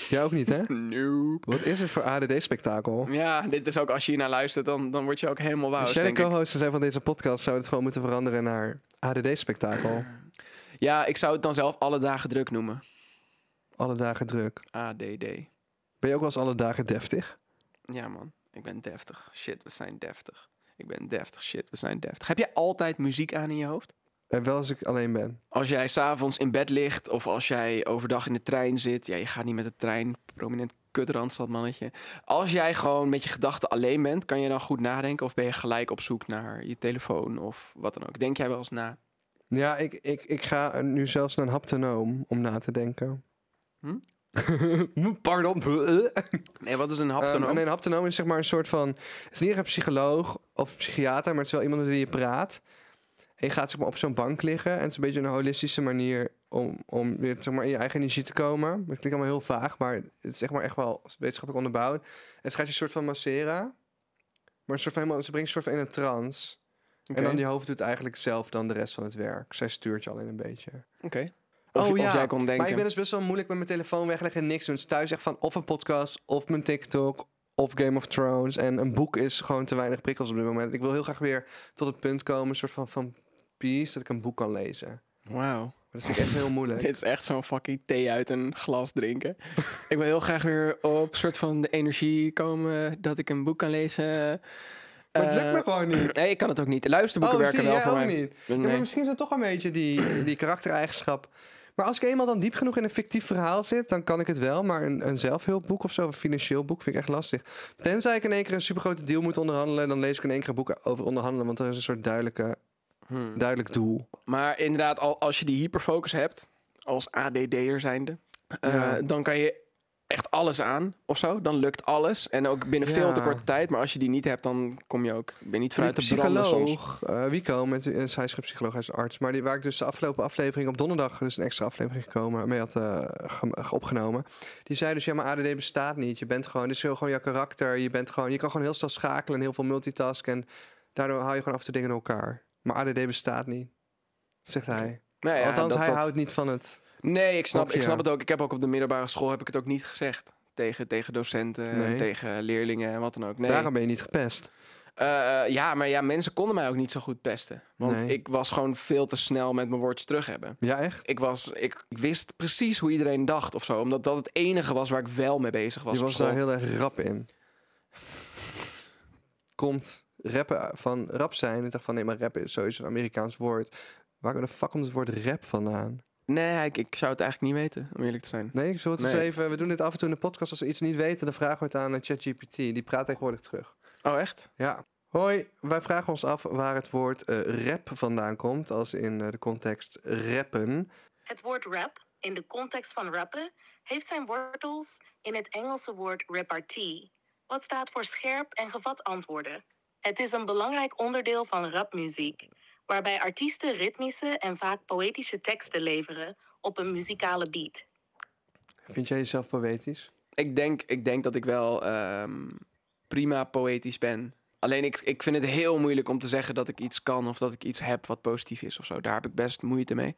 Jij ook niet, hè?
Nope.
Wat is het voor ADD-spektakel?
Ja, dit is ook als je hiernaar luistert, dan, dan word je ook helemaal wauw. Dus
Als jij de co-host zou zijn van deze podcast, zou het gewoon moeten veranderen naar ADD-spektakel.
Ja, ik zou het dan zelf alle dagen druk noemen.
Alle dagen druk.
ADD.
Ben je ook wel eens alle dagen deftig?
Ja, man. Ik ben deftig. Shit, we zijn deftig. Ik ben deftig. Shit, we zijn deftig. Heb jij altijd muziek aan in je hoofd?
En wel als ik alleen ben.
Als jij s'avonds in bed ligt of als jij overdag in de trein zit. Ja, je gaat niet met de trein. Prominent kut randstadmannetje. Als jij gewoon met je gedachten alleen bent, kan je dan goed nadenken? Of ben je gelijk op zoek naar je telefoon of wat dan ook? Denk jij wel eens na?
Ja, ik, ik, ik ga nu zelfs naar een haptonoom om na te denken.
Hm?
Pardon.
Nee, wat is een
Ehm,
haptonoom?
en een haptonoom is zeg maar een soort van... Het is niet echt een psycholoog of psychiater, maar het is wel iemand met wie je praat. En je gaat zeg maar, op zo'n bank liggen. En het is een beetje een holistische manier om, om weer zeg maar, in je eigen energie te komen. Dat klinkt allemaal heel vaag, maar het is zeg maar, echt wel wetenschappelijk onderbouwd. En ze gaat je een soort van masseren. Maar een soort van helemaal, ze brengt je een soort van in een trance.
Oké.
En dan die hoofd doet eigenlijk zelf dan de rest van het werk. Zij stuurt je alleen een beetje.
Oké. Of, je- of jij kon denken.
Oh, Maar ik ben dus best wel moeilijk met mijn telefoon wegleggen en niks doen. Dus thuis echt van of een podcast, of mijn TikTok, of Game of Thrones. En een boek is gewoon te weinig prikkels op dit moment. Ik wil heel graag weer tot het punt komen, een soort van, van peace, dat ik een boek kan lezen. Maar
Wauw.
dat vind ik echt heel moeilijk.
Dit is echt zo'n fucking thee uit een glas drinken. ik wil heel graag weer op soort van de energie komen dat ik een boek kan lezen.
maar het lukt
Eh,
me gewoon niet.
Nee, ik kan het ook niet. Luisterboeken
Oh,
werken
zie
wel
jij
voor
ook
mij.
niet.
Nee.
Ja, maar misschien is dat toch een beetje die, die karaktereigenschap. Maar als ik eenmaal dan diep genoeg in een fictief verhaal zit, dan kan ik het wel. Maar een, een zelfhulpboek of zo, of een financieel boek, vind ik echt lastig. Tenzij ik in één keer een supergrote deal moet onderhandelen, dan lees ik in één keer een boek over onderhandelen. Want er is een soort duidelijke,
Hmm.
duidelijk doel.
Maar inderdaad, al, als je die hyperfocus hebt, als ADD'er zijnde, eh,
Ja.
dan kan je echt alles aan of zo. Dan lukt alles. En ook binnen veel te
Ja.
korte tijd. Maar als je die niet hebt, dan kom je ook ben je niet vanuit de
Die
branden soms.
psycholoog, eh, Wico, met, eh, hij is geen psycholoog, hij is arts. Maar die, waar ik dus de afgelopen aflevering op donderdag dus een extra aflevering gekomen, mee had eh, ge- opgenomen. Die zei dus, ja, maar ADD bestaat niet. Je bent gewoon, dit is heel gewoon jouw karakter. Je, bent gewoon, je kan gewoon heel snel schakelen en heel veel multitasken. En daardoor haal je gewoon af en toe dingen in elkaar. Maar ADD bestaat niet, zegt hij.
Nou ja,
Althans,
dat-
hij
dat-
houdt niet van het...
Nee, ik snap,
Ook,
ik snap
ja.
het ook. Ik heb ook op de middelbare school heb ik het ook niet gezegd. Tegen, tegen docenten,
Nee.
tegen leerlingen en wat dan ook. Nee.
Daarom ben je niet gepest.
Eh, eh, ja, maar ja, mensen konden mij ook niet zo goed pesten. Want
Nee.
ik was gewoon veel te snel met mijn woordjes terug hebben.
Ja, echt?
Ik, was, ik, ik wist precies hoe iedereen dacht of zo. Omdat dat het enige was waar ik wel mee bezig was.
je
op
was
school.
daar heel erg rap in. Komt rappen van rap zijn. Ik dacht van nee, maar rap is sowieso een Amerikaans woord. Waar de fuck komt het woord rap vandaan?
Nee, ik, ik zou het eigenlijk niet weten, om eerlijk te zijn.
Nee, ik zal het eens
Nee.
even. We doen dit af en toe in de podcast. Als we iets niet weten, dan vragen we het aan eh, ChatGPT. Die praat tegenwoordig terug.
Oh, echt?
Ja. Hoi, wij vragen ons af waar het woord eh, rap vandaan komt. Als in eh, de context rappen.
Het woord rap, in de context van rappen, heeft zijn wortels in het Engelse woord repartee, wat staat voor scherp en gevat antwoorden. Het is een belangrijk onderdeel van rapmuziek, waarbij artiesten ritmische en vaak poëtische teksten leveren op een muzikale beat.
Vind jij jezelf poëtisch?
Ik denk, ik denk dat ik wel ehm, prima poëtisch ben. Alleen ik, ik vind het heel moeilijk om te zeggen dat ik iets kan of dat ik iets heb wat positief is of zo. Daar heb ik best moeite mee.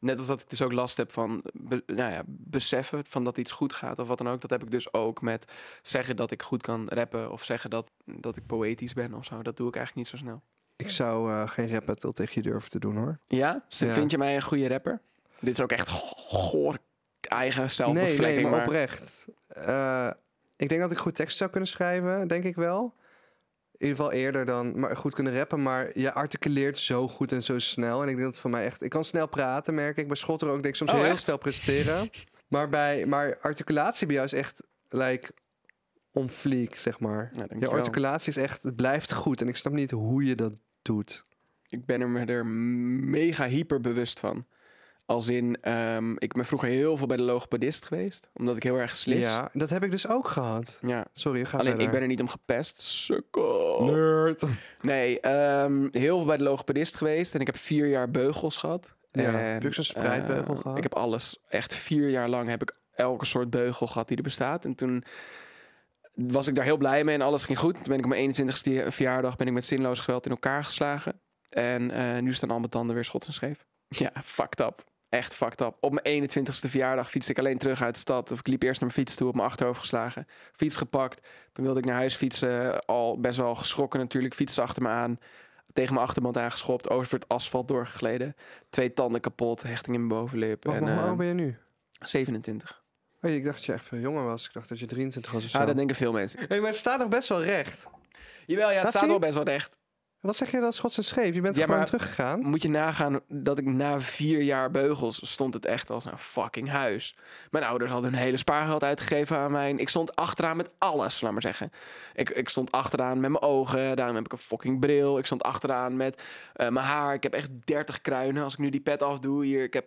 Net als dat ik dus ook last heb van be- nou ja, beseffen van dat iets goed gaat of wat dan ook. Dat heb ik dus ook met zeggen dat ik goed kan rappen of zeggen dat, dat ik poëtisch ben of zo. Dat doe ik eigenlijk niet zo snel.
Ik zou eh, geen rap battle tegen je durven te doen hoor.
Ja? Z-
Ja.
Vind je mij een goede rapper? Dit is ook echt go- goor eigen
Nee,
zelfbevlekking.
nee, maar,
maar
oprecht. Eh, ik denk dat ik goed tekst zou kunnen schrijven, denk ik wel. In ieder geval eerder dan maar goed kunnen rappen. Maar je articuleert zo goed en zo snel. En ik denk dat het voor mij echt... Ik kan snel praten, merk ik. Bij schotter ook denk ik soms
Oh,
heel
echt?
snel presteren. maar, bij, maar articulatie bij jou is echt... Like, on fleek, zeg maar.
Ja, dankjewel.
je articulatie is echt... Het blijft goed. En ik snap niet hoe je dat doet.
ik ben er me er mega hyper bewust van. Als in, ehm, ik ben vroeger heel veel bij de logopedist geweest. Omdat ik heel erg slis. Ja.
Ja, dat heb ik dus ook gehad. Sorry, ga
Alleen
verder.
ik Oh. ben er niet om gepest. Sukkel.
Nerd.
Nee, ehm, heel veel bij de logopedist geweest. En ik heb vier jaar beugels gehad.
Ja,
En,
heb je ook zo'n spreidbeugel
eh,
gehad?
Ik heb alles. Echt vier jaar lang heb ik elke soort beugel gehad die er bestaat. En toen was ik daar heel blij mee en alles ging goed. Toen ben ik op mijn 21ste verjaardag ben ik met zinloos geweld in elkaar geslagen. En eh, nu staan al mijn tanden weer schots en scheef. Ja, fucked up. Echt fucked up. Op mijn 21ste verjaardag fietste ik alleen terug uit de stad. Of ik liep eerst naar mijn fiets toe, op mijn achterhoofd geslagen. Fiets gepakt. Toen wilde ik naar huis fietsen. Al best wel geschrokken natuurlijk. Fietsen achter me aan. Tegen mijn achterband aangeschopt. Over het asfalt doorgegleden. Twee tanden kapot. Hechting in mijn bovenlip.
Wacht,
en,
maar hoe
eh,
oud ben je nu?
27.
Oh, ik dacht dat je echt veel jonger was. Ik dacht dat je 23 was of zo.
Ja, Ah, dat denken veel mensen.
hey, maar het staat nog best wel recht.
Jawel, ja, het
Dat
staat
zie
al
ik.
best wel recht.
Wat zeg je dat schots en scheef? Je bent
Ja,
gewoon
maar-
teruggegaan.
Moet je nagaan dat ik na vier jaar beugels stond het echt als een fucking huis. Mijn ouders hadden hun hele spaargeld uitgegeven aan mij. Ik stond achteraan met alles, laat maar zeggen. Ik, ik stond achteraan met mijn ogen, daarom heb ik een fucking bril. Ik stond achteraan met eh, mijn haar. Ik heb echt 30 kruinen. Als ik nu die pet afdoe, hier, ik heb...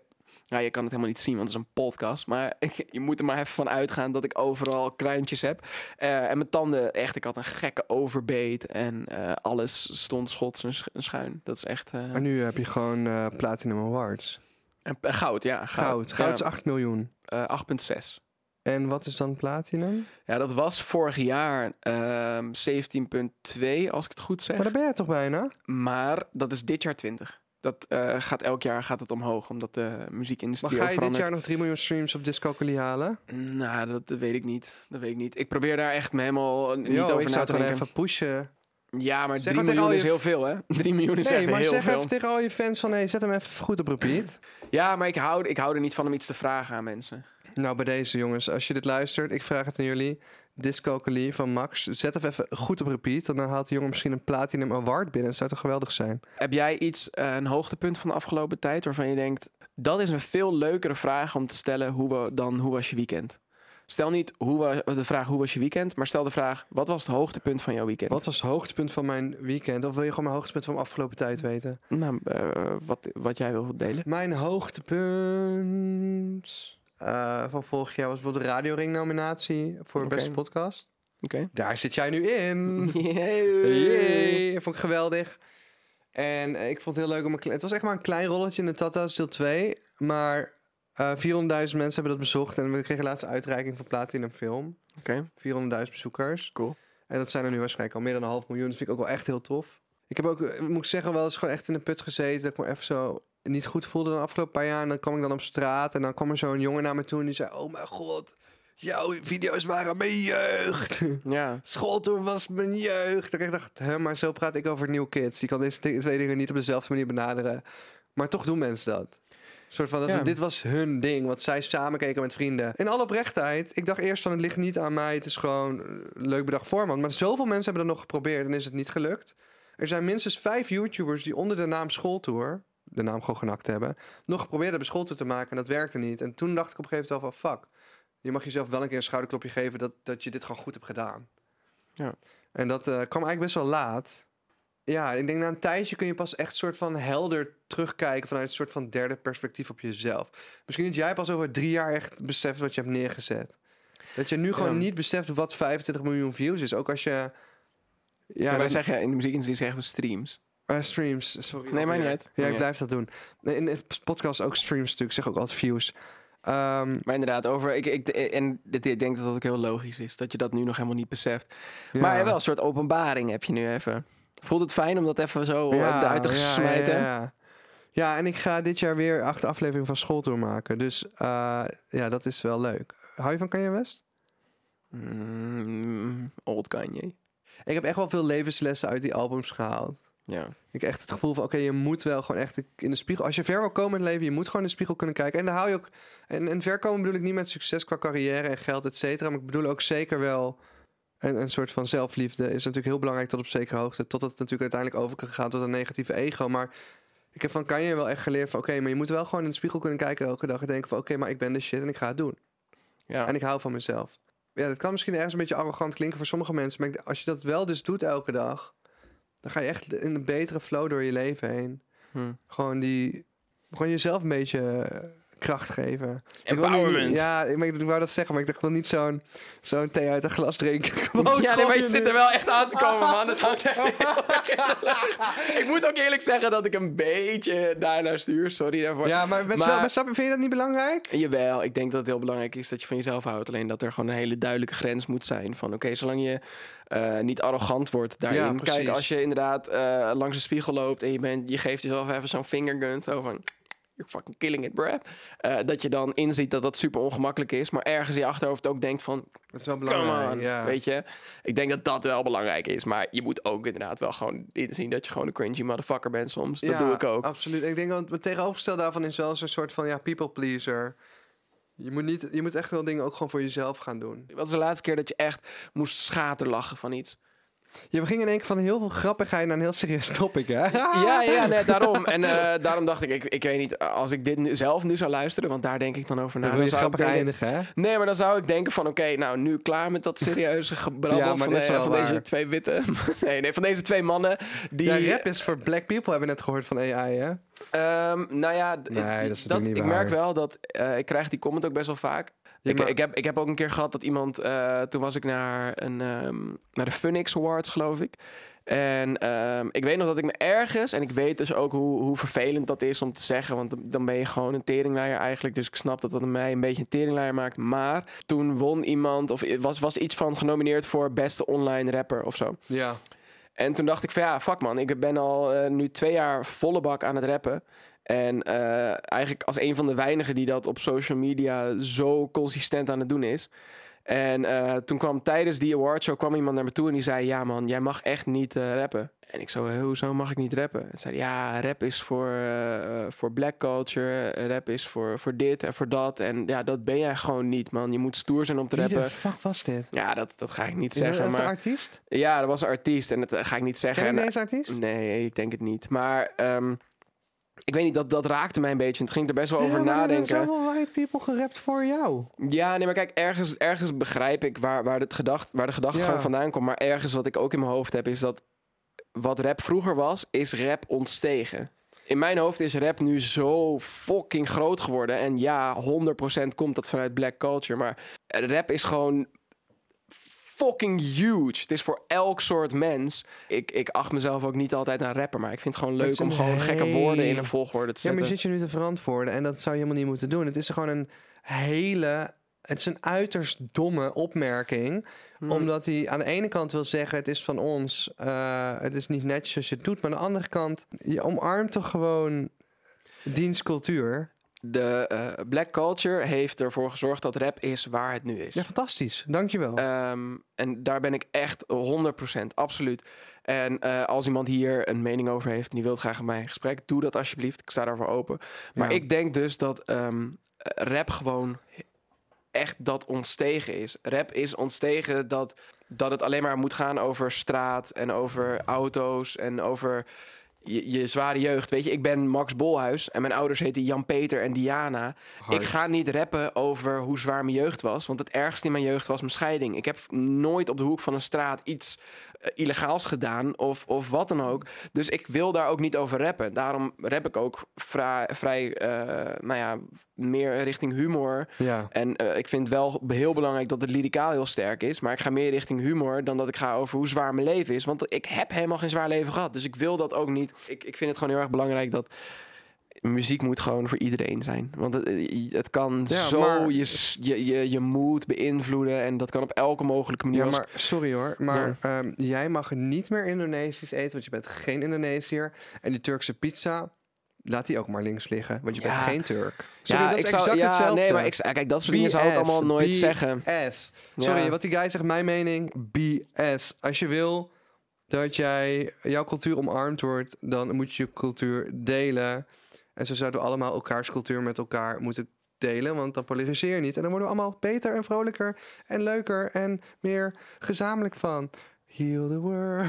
Nou, je kan het helemaal niet zien, want het is een podcast. Maar ik- je moet er maar even van uitgaan dat ik overal kruintjes heb. Eh, en mijn tanden, echt, ik had een gekke overbeet. En eh, alles stond schots en sch- en schuin. Dat is echt... eh,
Maar nu heb je gewoon eh, Platinum Awards.
en, en goud, ja.
Goud. Goud is
Ja,
8 miljoen.
eh, 8,6.
En wat is dan Platinum?
Ja, dat was vorig jaar ehm, 17,2 als ik het goed zeg.
Maar
Maar
daar ben
dat,
je toch bijna?
is dit jaar 20. Dat eh, gaat elk jaar gaat het omhoog, omdat de
Maar
muziekindustrie
ga
ook
je dit
verandert.
jaar nog 3 miljoen streams op Discalculie halen?
Nou, dat, dat weet ik niet. Dat weet ik niet. Ik probeer daar echt me helemaal niet
Yo,
over
ik zou
na te
het gewoon
denken.
even pushen.
Ja, maar
Zeg
3
maar tegen
miljoen
al
is
je
heel
v-
veel, hè? 3 miljoen is
Nee,
echt
maar
heel
zeg
veel.
even tegen al je fans van... Hey, zet hem even goed op repeat.
Ja, maar ik hou, ik hou er niet van om iets te vragen aan mensen.
nou, bij deze jongens. Als je dit luistert, ik vraag het aan jullie. Discalculie van Max. Zet hem even goed op repeat. En dan haalt de jongen misschien een Platinum Award binnen. Het zou toch geweldig zijn?
Heb jij iets, eh, een hoogtepunt van de afgelopen tijd waarvan je denkt, dat is een veel leukere vraag om te stellen hoe wa- dan hoe was je weekend? Stel niet hoe wa- de vraag hoe was je weekend, maar stel de vraag wat was het hoogtepunt van jouw weekend?
Wat was het hoogtepunt van mijn weekend? Of wil je gewoon mijn hoogtepunt van de afgelopen tijd weten?
Nou, eh, wat, wat jij wil delen.
Mijn hoogtepunt eh, van vorig jaar was bijvoorbeeld de Radioring nominatie voor
Oké.
beste podcast.
Oké.
Daar zit jij nu in.
Yay.
Yay. Vond ik geweldig. En eh, ik vond het heel leuk om een klein... Het was echt maar een klein rolletje in de Tata's deel 2. Maar eh 400.000 mensen hebben dat bezocht. En we kregen laatst een uitreiking van Platinum Film.
Oké,
400.000 bezoekers.
cool.
En dat zijn er nu waarschijnlijk al meer dan een half miljoen. Dat vind ik ook wel echt heel tof. Ik heb ook, eh, moet ik zeggen, wel eens gewoon echt in de put gezeten. Dat ik me even zo niet goed voelde de afgelopen paar jaar. En dan kwam ik dan op straat. En dan kwam er zo'n jongen naar me toe. En die zei, oh mijn god, jouw video's waren mijn jeugd.
Ja,
Schooltour was mijn jeugd. En ik dacht, hè, maar zo praat ik over New Kids. Je kan deze di- twee dingen niet op dezelfde manier benaderen. Maar toch doen mensen dat. Een soort van, dat,
Ja.
dit was hun ding, wat zij samen keken met vrienden. In alle oprechtheid, ik dacht eerst van, het ligt niet aan mij. Het is gewoon eh, leuk bedacht voorman. Maar zoveel mensen hebben dat nog geprobeerd en is het niet gelukt. Er zijn minstens vijf YouTubers die onder de naam Schooltour... de naam gewoon genakt hebben... nog geprobeerd hebben Schooltour te maken en dat werkte niet. En toen dacht ik op een gegeven moment wel van, fuck... je mag jezelf wel een keer een schouderklopje geven... dat, dat je dit gewoon goed hebt gedaan. En dat eh, kwam eigenlijk best wel laat. Ja, ik denk na een tijdje kun je pas echt soort van helder terugkijken vanuit een soort van derde perspectief op jezelf. Misschien dat jij pas over drie jaar echt beseft wat je hebt neergezet. Dat je nu gewoon
Ja.
niet beseft wat 25 miljoen views is. Ook als je. Ja,
ja wij
dan-
zeggen in de muziekindustrie zeggen we streams.
eh, streams, sorry.
Nee, maakt niet
Ja,
uit.
Ja,
Maakt
ik
niet
blijf dat doen. Nee, In de podcast ook streams natuurlijk. Ik zeg ook altijd views. Ehm,
Maar inderdaad, over, ik, ik, en dit- ik denk dat dat ook heel logisch is, dat je dat nu nog helemaal niet beseft.
ja.
Maar wel een soort openbaring heb je nu even. Voelt het fijn om dat even zo eh, uit te smijten?
Ja, ja. Ja, en ik ga dit jaar weer acht afleveringen van Schooltour maken. Dus eh, ja, dat is wel leuk. Hou je van Kanye West?
Mm, old Kanye.
Ik heb echt wel veel levenslessen uit die albums gehaald.
Ja.
Ik heb echt het gevoel van, oké, je moet wel gewoon echt in de spiegel... Als je ver wil komen in het leven, je moet gewoon in de spiegel kunnen kijken. En daar hou je ook... En, en ver komen bedoel ik niet met succes qua carrière en geld, et cetera. Maar ik bedoel ook zeker wel... En een soort van zelfliefde is natuurlijk heel belangrijk tot op zekere hoogte. Totdat het natuurlijk uiteindelijk over kan gaan tot een negatieve ego. Maar ik heb van Kanye wel echt geleerd van... Oké, maar je moet wel gewoon in de spiegel kunnen kijken elke dag. En denken van, oké, maar ik ben de shit en ik ga het doen.
Ja.
En ik hou van mezelf. Ja, dat kan misschien ergens een beetje arrogant klinken voor sommige mensen. Maar ik d- als je dat wel dus doet elke dag... dan ga je echt in een betere flow door je leven heen.
Hmm.
Gewoon, die, gewoon jezelf een beetje eh, kracht geven. Ik wil nu-
Empowerment.
ja, ik, maar ik, ik wou dat zeggen, maar ik dacht, ik wil niet zo'n zo'n thee uit een glas drinken. Gewoon,
ja, nee, maar
gewoon
het zit er wel echt aan te komen, man. Het hangt echt heel erg in de lucht. Ik moet ook eerlijk zeggen dat ik een beetje daarnaar stuur. Sorry daarvoor.
Ja, maar, met
Maar-
wel- maar snap je, vind je dat niet belangrijk?
Jawel, ik denk dat het heel belangrijk is dat je van jezelf houdt. Alleen dat er gewoon een hele duidelijke grens moet zijn. Van oké, zolang je eh, niet arrogant wordt daarin.
Ja, precies.
Kijk, als je inderdaad eh, langs de spiegel loopt en je, bent, je geeft jezelf even zo'n fingergun. Zo van, you're fucking killing it, bruh. Eh, dat je dan inziet dat dat super ongemakkelijk is. Maar ergens in je achterhoofd ook denkt van,
Dat is wel
come
belangrijk,
on.
ja.
Weet je, ik denk dat dat wel belangrijk is. Maar je moet ook inderdaad wel gewoon inzien dat je gewoon een cringy motherfucker bent soms. Dat
Ja, Oh.
doe ik ook.
Absoluut. En Ik denk dat het tegenovergestelde daarvan is wel eens een soort van ja, people pleaser. Je moet, niet, je moet echt wel dingen ook gewoon voor jezelf gaan doen.
Wat is de laatste keer dat je echt moest schaterlachen van iets?
Je ging in één keer van heel veel grappigheid naar een heel serieus topic, hè?
Ja,
Nou,
ja, nee, daarom. En eh, daarom dacht ik, ik, ik weet niet, als ik dit nu, zelf nu zou luisteren, want daar denk ik dan over na.
Dan wil je
zou ik
grappig
denken-
eindigen, hè?
Nee, maar dan zou ik denken van, oké, nou, nu klaar met dat serieuze gebrabbel
Ja, maar
van,
dit is
eh,
wel
van deze
waar.
twee witte... Nee, nee, van deze twee mannen die...
Ja, rap is voor black people, hebben we net gehoord van AI, hè?
Ehm, nou ja, d-
Nee, dat is natuurlijk niet
ik
waar.
merk wel dat eh, ik krijg die comment ook best wel vaak.
Ja,
ik,
maar-
ik, heb, ik heb ook een keer gehad dat iemand, eh, toen was ik naar, een, ehm, naar de Phoenix Awards, geloof ik. En ehm, ik weet nog dat ik me ergens, en ik weet dus ook hoe, hoe vervelend dat is om te zeggen, want dan ben je gewoon een teringleier eigenlijk. Dus ik snap dat dat mij een beetje een teringleier maakt. Maar toen won iemand, of was, was iets van genomineerd voor beste online rapper of zo.
Ja.
En toen dacht ik van ja, fuck man, ik ben al eh, nu twee jaar volle bak aan het rappen. En eh, eigenlijk als een van de weinigen die dat op social media zo consistent aan het doen is. En eh, toen kwam tijdens die awardshow kwam iemand naar me toe en die zei... ja man, jij mag echt niet eh, rappen. En ik zo, "Hé, hoezo mag ik niet rappen? En zei hij, ja, rap is voor, eh, eh, voor black culture, rap is voor, voor dit en voor dat. En ja, dat ben jij gewoon niet man, je moet stoer zijn om te
Wie
rappen.
de fuck was dit?
Ja, dat, dat ga ik niet
Is dat
zeggen,
een
maar...
artiest?
Ja, dat was een artiest en dat eh, ga ik niet zeggen.
Ken je
En,
deze artiest?
Nee, ik denk het niet. Maar ehm, ik weet niet, dat, dat raakte mij een beetje. Het ging er best wel over
Ja, maar Er
nadenken.
zijn zoveel white people gerapt voor jou.
Ja, nee, maar kijk, ergens, ergens begrijp ik waar, waar, het gedacht, waar de gedachtegang
Ja.
vandaan komt. Maar ergens wat ik ook in mijn hoofd heb, is dat wat rap vroeger was, is rap ontstegen. In mijn hoofd is rap nu zo fucking groot geworden. En ja, 100% komt dat vanuit black culture. Maar rap is gewoon fucking huge. Het is voor elk soort mens. Ik, ik acht mezelf ook niet altijd een rapper. Maar ik vind het gewoon
het
leuk
is
om
een
gewoon gekke woorden in
hele-
een volgorde te
Ja, maar
zetten.
je zit je nu te verantwoorden en dat zou je helemaal niet moeten doen. Het is gewoon een hele. Het is een uiterst domme opmerking.
Hmm.
Omdat hij aan de ene kant wil zeggen: het is van ons, eh, het is niet netjes als je het doet. Maar aan de andere kant, je omarmt toch gewoon dienstcultuur.
De eh, black culture heeft ervoor gezorgd dat rap is waar het nu is.
Ja, fantastisch. Dankjewel.
Ehm, en daar ben ik echt 100% absoluut. En eh, als iemand hier een mening over heeft en die wil graag met mij in gesprek, doe dat alsjeblieft. Ik sta daarvoor open. Maar
Ja.
ik denk dus dat ehm, rap gewoon echt dat ontstegen is. Rap is ontstegen dat, dat het alleen maar moet gaan over straat en over auto's en over je, je zware jeugd. Weet je, ik ben Max Bolhuis en mijn ouders heten Jan-Peter en Diana.
Hard.
Ik ga niet rappen over hoe zwaar mijn jeugd was, want het ergste in mijn jeugd was mijn scheiding. Ik heb nooit op de hoek van een straat iets eh, illegaals gedaan of, of wat dan ook. Dus ik wil daar ook niet over rappen. Daarom rap ik ook vrij, vrij eh, nou ja, meer richting humor.
ja.
En eh, ik vind wel heel belangrijk dat het lyricaal heel sterk is. Maar ik ga meer richting humor dan dat ik ga over hoe zwaar mijn leven is. Want ik heb helemaal geen zwaar leven gehad. Dus ik wil dat ook niet. Ik, ik vind het gewoon heel erg belangrijk dat. Muziek moet gewoon voor iedereen zijn. Want het, eh, het kan
Ja,
zo
maar-
je, s- je, je, je mood beïnvloeden. En dat kan op elke mogelijke manier.
Ja,
Als-
maar sorry hoor, maar ehm, jij mag niet meer Indonesisch eten, want je bent geen Indonesiër. En die Turkse pizza, laat die ook maar links liggen, want je bent
Ja.
geen Turk. Sorry, dat is
ik
exact
ja,
hetzelfde.
Nee, maar ik, kijk, dat soort dingen zou ik
BS,
allemaal nooit
BS.
zeggen.
Sorry,
Ja.
wat die guy zegt, mijn mening, BS. Als je wil dat jij, jouw cultuur omarmd wordt, dan moet je je cultuur delen. En zo zouden we allemaal elkaars cultuur met elkaar moeten delen, want dan polariseer je niet. En dan worden we allemaal beter en vrolijker en leuker en meer gezamenlijk van. Heal the world.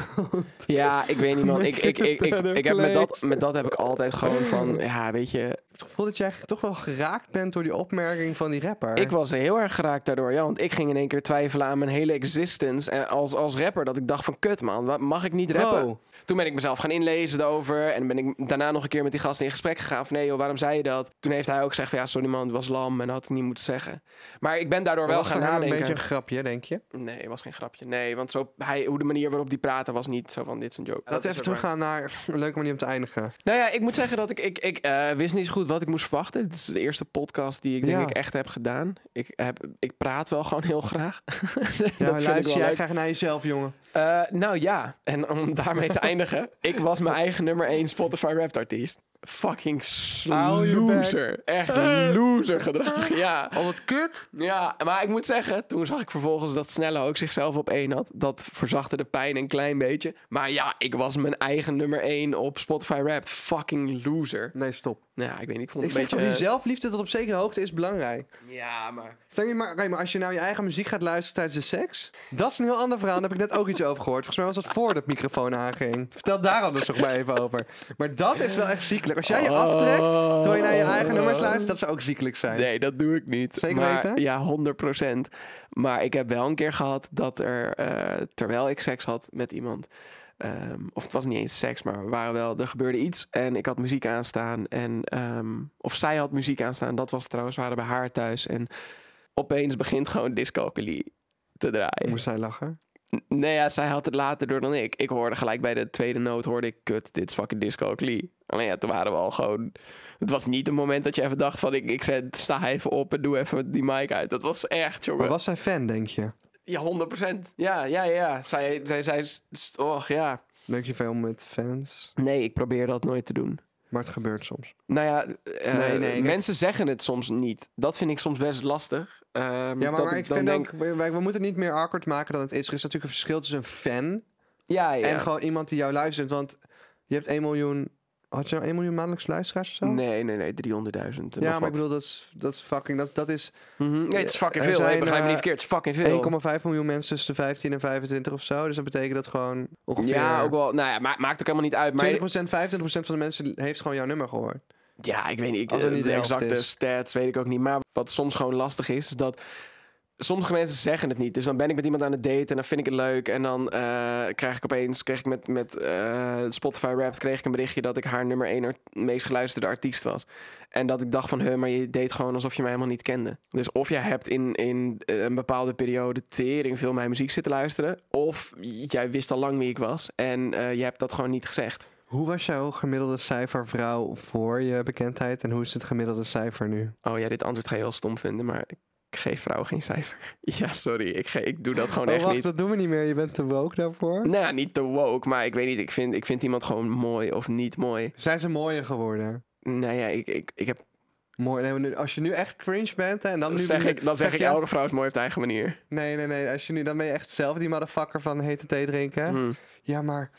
Ja, ik weet niet, man.
Make
Ik, ik,
it a
ik, ik,
better
ik heb met,
place.
dat, met dat heb ik altijd gewoon van... Ja, weet je,
het gevoel dat jij toch wel geraakt bent door die opmerking van die rapper.
Ik was heel erg geraakt daardoor, ja. Want ik ging in één keer twijfelen aan mijn hele existence en als, als rapper. Dat ik dacht van, kut man, wat- mag ik niet rappen?
Wow.
Toen ben ik mezelf gaan inlezen daarover. En ben ik daarna nog een keer met die gast in gesprek gegaan. Van, nee joh, waarom zei je dat? Toen heeft hij ook gezegd van, ja, sorry man, het was lam en had het niet moeten zeggen. Maar ik ben daardoor wel
was
gaan
voor hem
nadenken.
een beetje een grapje, denk je?
Nee, het was geen grapje. Nee, want zo, hij, hoe de manier waarop die praatte was niet zo van, dit is een joke.
Laten we even teruggaan naar een leuke manier om te eindigen.
Nou ja, ik moet zeggen dat ik, ik, ik eh, wist niet zo goed wat ik moest verwachten. Dit is de eerste podcast die ik denk
Ja.
ik echt heb gedaan. Ik, heb, ik praat wel gewoon heel graag.
Ja,
Dat vind ik wel
luister jij
leuk.
graag naar jezelf, jongen.
Eh, nou ja, en om daarmee te eindigen. Ik was mijn eigen nummer 1 Spotify Wrapped artiest. Fucking s-
Hou je bek. Eh.
loser. Echt een loser gedrag. Ja.
Al wat kut.
ja, maar ik moet zeggen, toen zag ik vervolgens dat Snelle ook zichzelf op één had. Dat verzachtte de pijn een klein beetje. Maar ja, ik was mijn eigen nummer één op Spotify Wrapped. Fucking loser.
Nee, stop.
Nou ja, ik weet niet, ik vond
Ik
het
zeg
een
toch, die
beetje... eh,
zelfliefde tot op zekere hoogte is belangrijk.
Ja, maar...
Stel je maar, kijk maar, als je nou je eigen muziek gaat luisteren tijdens de seks, dat is een heel ander verhaal. Daar heb ik net ook iets over gehoord. Volgens mij was dat voor dat microfoon aanging. Vertel daar anders nog maar even over. Maar dat is wel echt ziekelijk. Als jij je aftrekt, terwijl je naar je eigen nummers luistert, dat zou ook ziekelijk zijn.
Oh. Nee, dat doe ik niet.
Zeker
maar,
weten?
Ja, 100%. Maar ik heb wel een keer gehad dat er, eh, terwijl ik seks had met iemand. ehm, of het was niet eens seks, maar we waren wel, er gebeurde iets en ik had muziek aanstaan. En, ehm, of zij had muziek aanstaan, dat was het trouwens, we waren bij haar thuis. En opeens begint gewoon discalculie te draaien.
Moest zij lachen?
Nee, ja, zij had het later door dan ik. Ik hoorde gelijk bij de tweede noot, hoorde ik, kut, dit is fucking Disco Klee. Alleen ja, toen waren we al gewoon... Het was niet een moment dat je even dacht van, ik, ik zet, sta even op en doe even die mic uit. Dat was echt, jongen.
Maar was zij fan, denk je?
Ja, 100%. Ja, ja, ja. Zij, zij, zij, s- och, ja.
Leuk je veel met fans,
Nee, ik probeer dat nooit te doen.
maar het gebeurt soms.
Nou ja, eh,
Nee, nee, kijk.
mensen zeggen het soms niet. Dat vind ik soms best lastig. Ehm,
Ja, maar,
dat
maar ik
dan
vind
denk-
ook, we, we moeten het niet meer awkward maken dan het is. Er is natuurlijk een verschil tussen een fan
Ja, ja.
en gewoon iemand die jou luistert. Want je hebt 1 miljoen, had je nou 1 miljoen maandelijks luisteraars of zo?
Nee, nee, nee, 300.000. nog
Ja, maar
wat.
ik bedoel, dat is, dat is fucking, dat, dat is
Mhm. Nee, het is fucking
Er
veel.
zijn,
hè. begrijp me niet
eh,
verkeerd. Het is fucking veel.
1,5 miljoen mensen tussen de 15 en 25 of zo. Dus dat betekent dat gewoon ongeveer
Ja, ook wel. Nou ja, ma- maakt ook helemaal niet uit. Maar
20%, 25% van de mensen heeft gewoon jouw nummer gehoord.
ja, ik weet niet. Ik,
Als het
eh,
niet
de
de helft
exacte
is.
stats weet ik ook niet. Maar wat soms gewoon lastig is, is dat sommige mensen zeggen het niet. Dus dan ben ik met iemand aan het daten en dan vind ik het leuk. En dan eh, krijg ik opeens, kreeg ik met, met eh, Spotify Wrapped, kreeg ik een berichtje dat ik haar nummer 1 meest geluisterde artiest was. En dat ik dacht van, huh, maar je deed gewoon alsof je mij helemaal niet kende. Dus of jij hebt in, in eh, een bepaalde periode tering veel mijn muziek zitten luisteren. Of jij wist al lang wie ik was en eh, je hebt dat gewoon niet gezegd.
Hoe was jouw gemiddelde cijfer vrouw voor je bekendheid? En hoe is het gemiddelde cijfer nu?
Oh ja, dit antwoord ga je heel stom vinden, maar ik geef vrouwen geen cijfer. Ja, sorry, ik, ge- ik doe dat gewoon
Oh,
echt
wacht,
niet.
dat doen we niet meer. Je bent te woke daarvoor.
Nou, ja, niet te woke, maar ik weet niet, ik vind, ik vind iemand gewoon mooi of niet mooi.
Zijn ze mooier geworden?
Nou ja, ik, ik, ik heb,
Mooi. nee, maar nu- als je nu echt cringe bent hè, en dan nu...
zeg ik, dan zeg ik,
je-
elke vrouw is mooi op haar eigen manier.
Nee, nee, nee. Als je nu, dan ben je echt zelf die motherfucker van hete thee drinken.
Hmm.
Ja, maar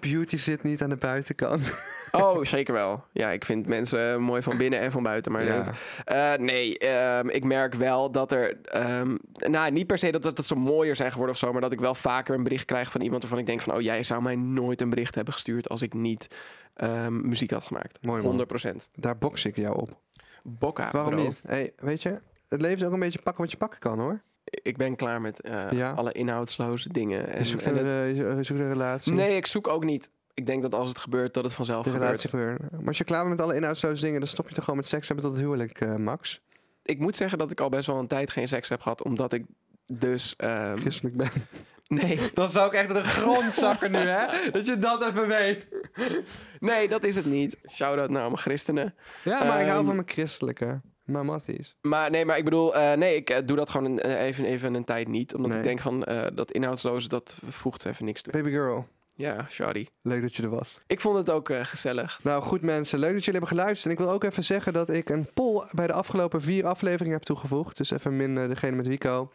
beauty zit niet aan de buitenkant.
Oh, zeker wel. Ja, ik vind mensen eh, mooi van binnen en van buiten. Maar
Ja.
Eh, nee, ehm, ik merk wel dat er. ehm, nou, niet per se dat, dat, dat ze mooier zijn geworden of zo. Maar dat ik wel vaker een bericht krijg van iemand waarvan ik denk: van, Oh, jij zou mij nooit een bericht hebben gestuurd. als ik niet ehm, muziek had gemaakt.
Mooi, man.
100%.
Daar boks ik jou op.
Bokka.
Waarom
bro.
niet? Hey, weet je, het leven is ook een beetje pakken wat je pakken kan hoor.
Ik ben klaar met eh,
Ja.
alle inhoudsloze dingen.
Je
En,
zoekt,
en
een, eh,
het-
je- je zoekt een relatie.
nee, ik zoek ook niet. Ik denk dat als het gebeurt, dat het vanzelf
De
gebeurt.
relatie gebeuren. Maar als je klaar bent met alle inhoudsloze dingen, dan stop je toch gewoon met seks hebben tot het huwelijk, eh, Max.
Ik moet zeggen dat ik al best wel een tijd geen seks heb gehad. Omdat ik dus. ehm,
Christelijk ben.
nee.
Dan zou ik echt de grond zakken nu, hè? Dat je dat even weet.
nee, dat is het niet. Shout-out naar allemaal christenen.
Ja, maar ik hou
Ehm.
van mijn christelijke. Maar matties.
Maar nee, maar ik bedoel, eh, nee, ik eh, doe dat gewoon een- eh, even, even een tijd niet. Omdat
Nee.
ik denk van eh, dat inhoudsloze, dat voegt even niks toe.
Baby girl,
Ja, sorry.
leuk dat je er was.
Ik vond het ook eh, gezellig.
Nou goed mensen, leuk dat jullie hebben geluisterd. En ik wil ook even zeggen dat ik een poll bij de afgelopen vier afleveringen heb toegevoegd. Dus even min eh, degene met Wico.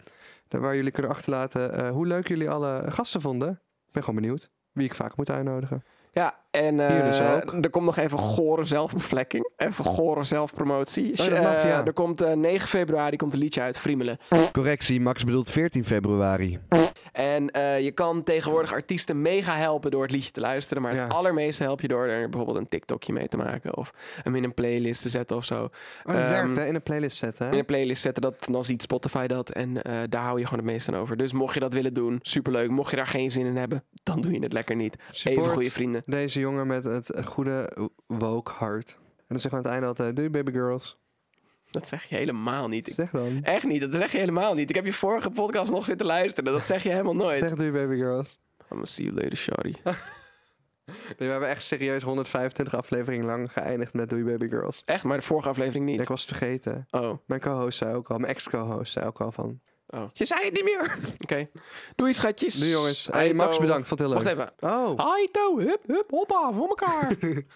Daar Waar jullie kunnen achterlaten eh, hoe leuk jullie alle gasten vonden. Ik ben gewoon benieuwd wie ik vaak moet uitnodigen.
Ja, en eh,
Hier dus ook.
er komt nog even gore zelfbevlekking. Even gore zelfpromotie.
Oh, dat mag,
Eh,
ja.
Er komt eh, 9 februari komt een liedje uit, Friemelen.
Correctie, Max bedoelt 14 februari.
Oh,
En eh, je kan tegenwoordig artiesten mega helpen door het liedje te luisteren. Maar
Ja.
het allermeeste help je door er bijvoorbeeld een TikTokje mee te maken. Of hem in een playlist te zetten of zo.
Oh, dat
Ehm,
werkt hè, in een playlist zetten hè?
in een playlist zetten. Dat, dan ziet Spotify dat. En eh, daar hou je gewoon het meeste aan over. Dus mocht je dat willen doen, superleuk. Mocht je daar geen zin in hebben, dan doe je het lekker niet.
Support
Even goede vrienden.
Deze jongen met het goede woke hart. En dan zeggen we aan het einde altijd, doei baby girls.
Dat zeg je helemaal niet. Ik-
Zeg dan.
echt niet, dat zeg je helemaal niet. Ik heb je vorige podcast nog zitten luisteren. Dat zeg je helemaal nooit.
Zeg doei baby girls.
I'm gonna see you later, shawty.
Nee, we hebben echt serieus 125 afleveringen lang geëindigd met doei baby girls.
Echt, maar de vorige aflevering
Ja,
niet.
ik was het vergeten.
Oh,
Mijn co-host zei ook al, mijn ex-co-host zei ook al van...
oh. Je zei het niet meer. Oké. Doei, schatjes.
Nu jongens. Hey, Max,
Aito.
bedankt. Vond het heel
Wacht
leuk.
even.
Oh.
Aito, hup, hup, hoppa, voor elkaar.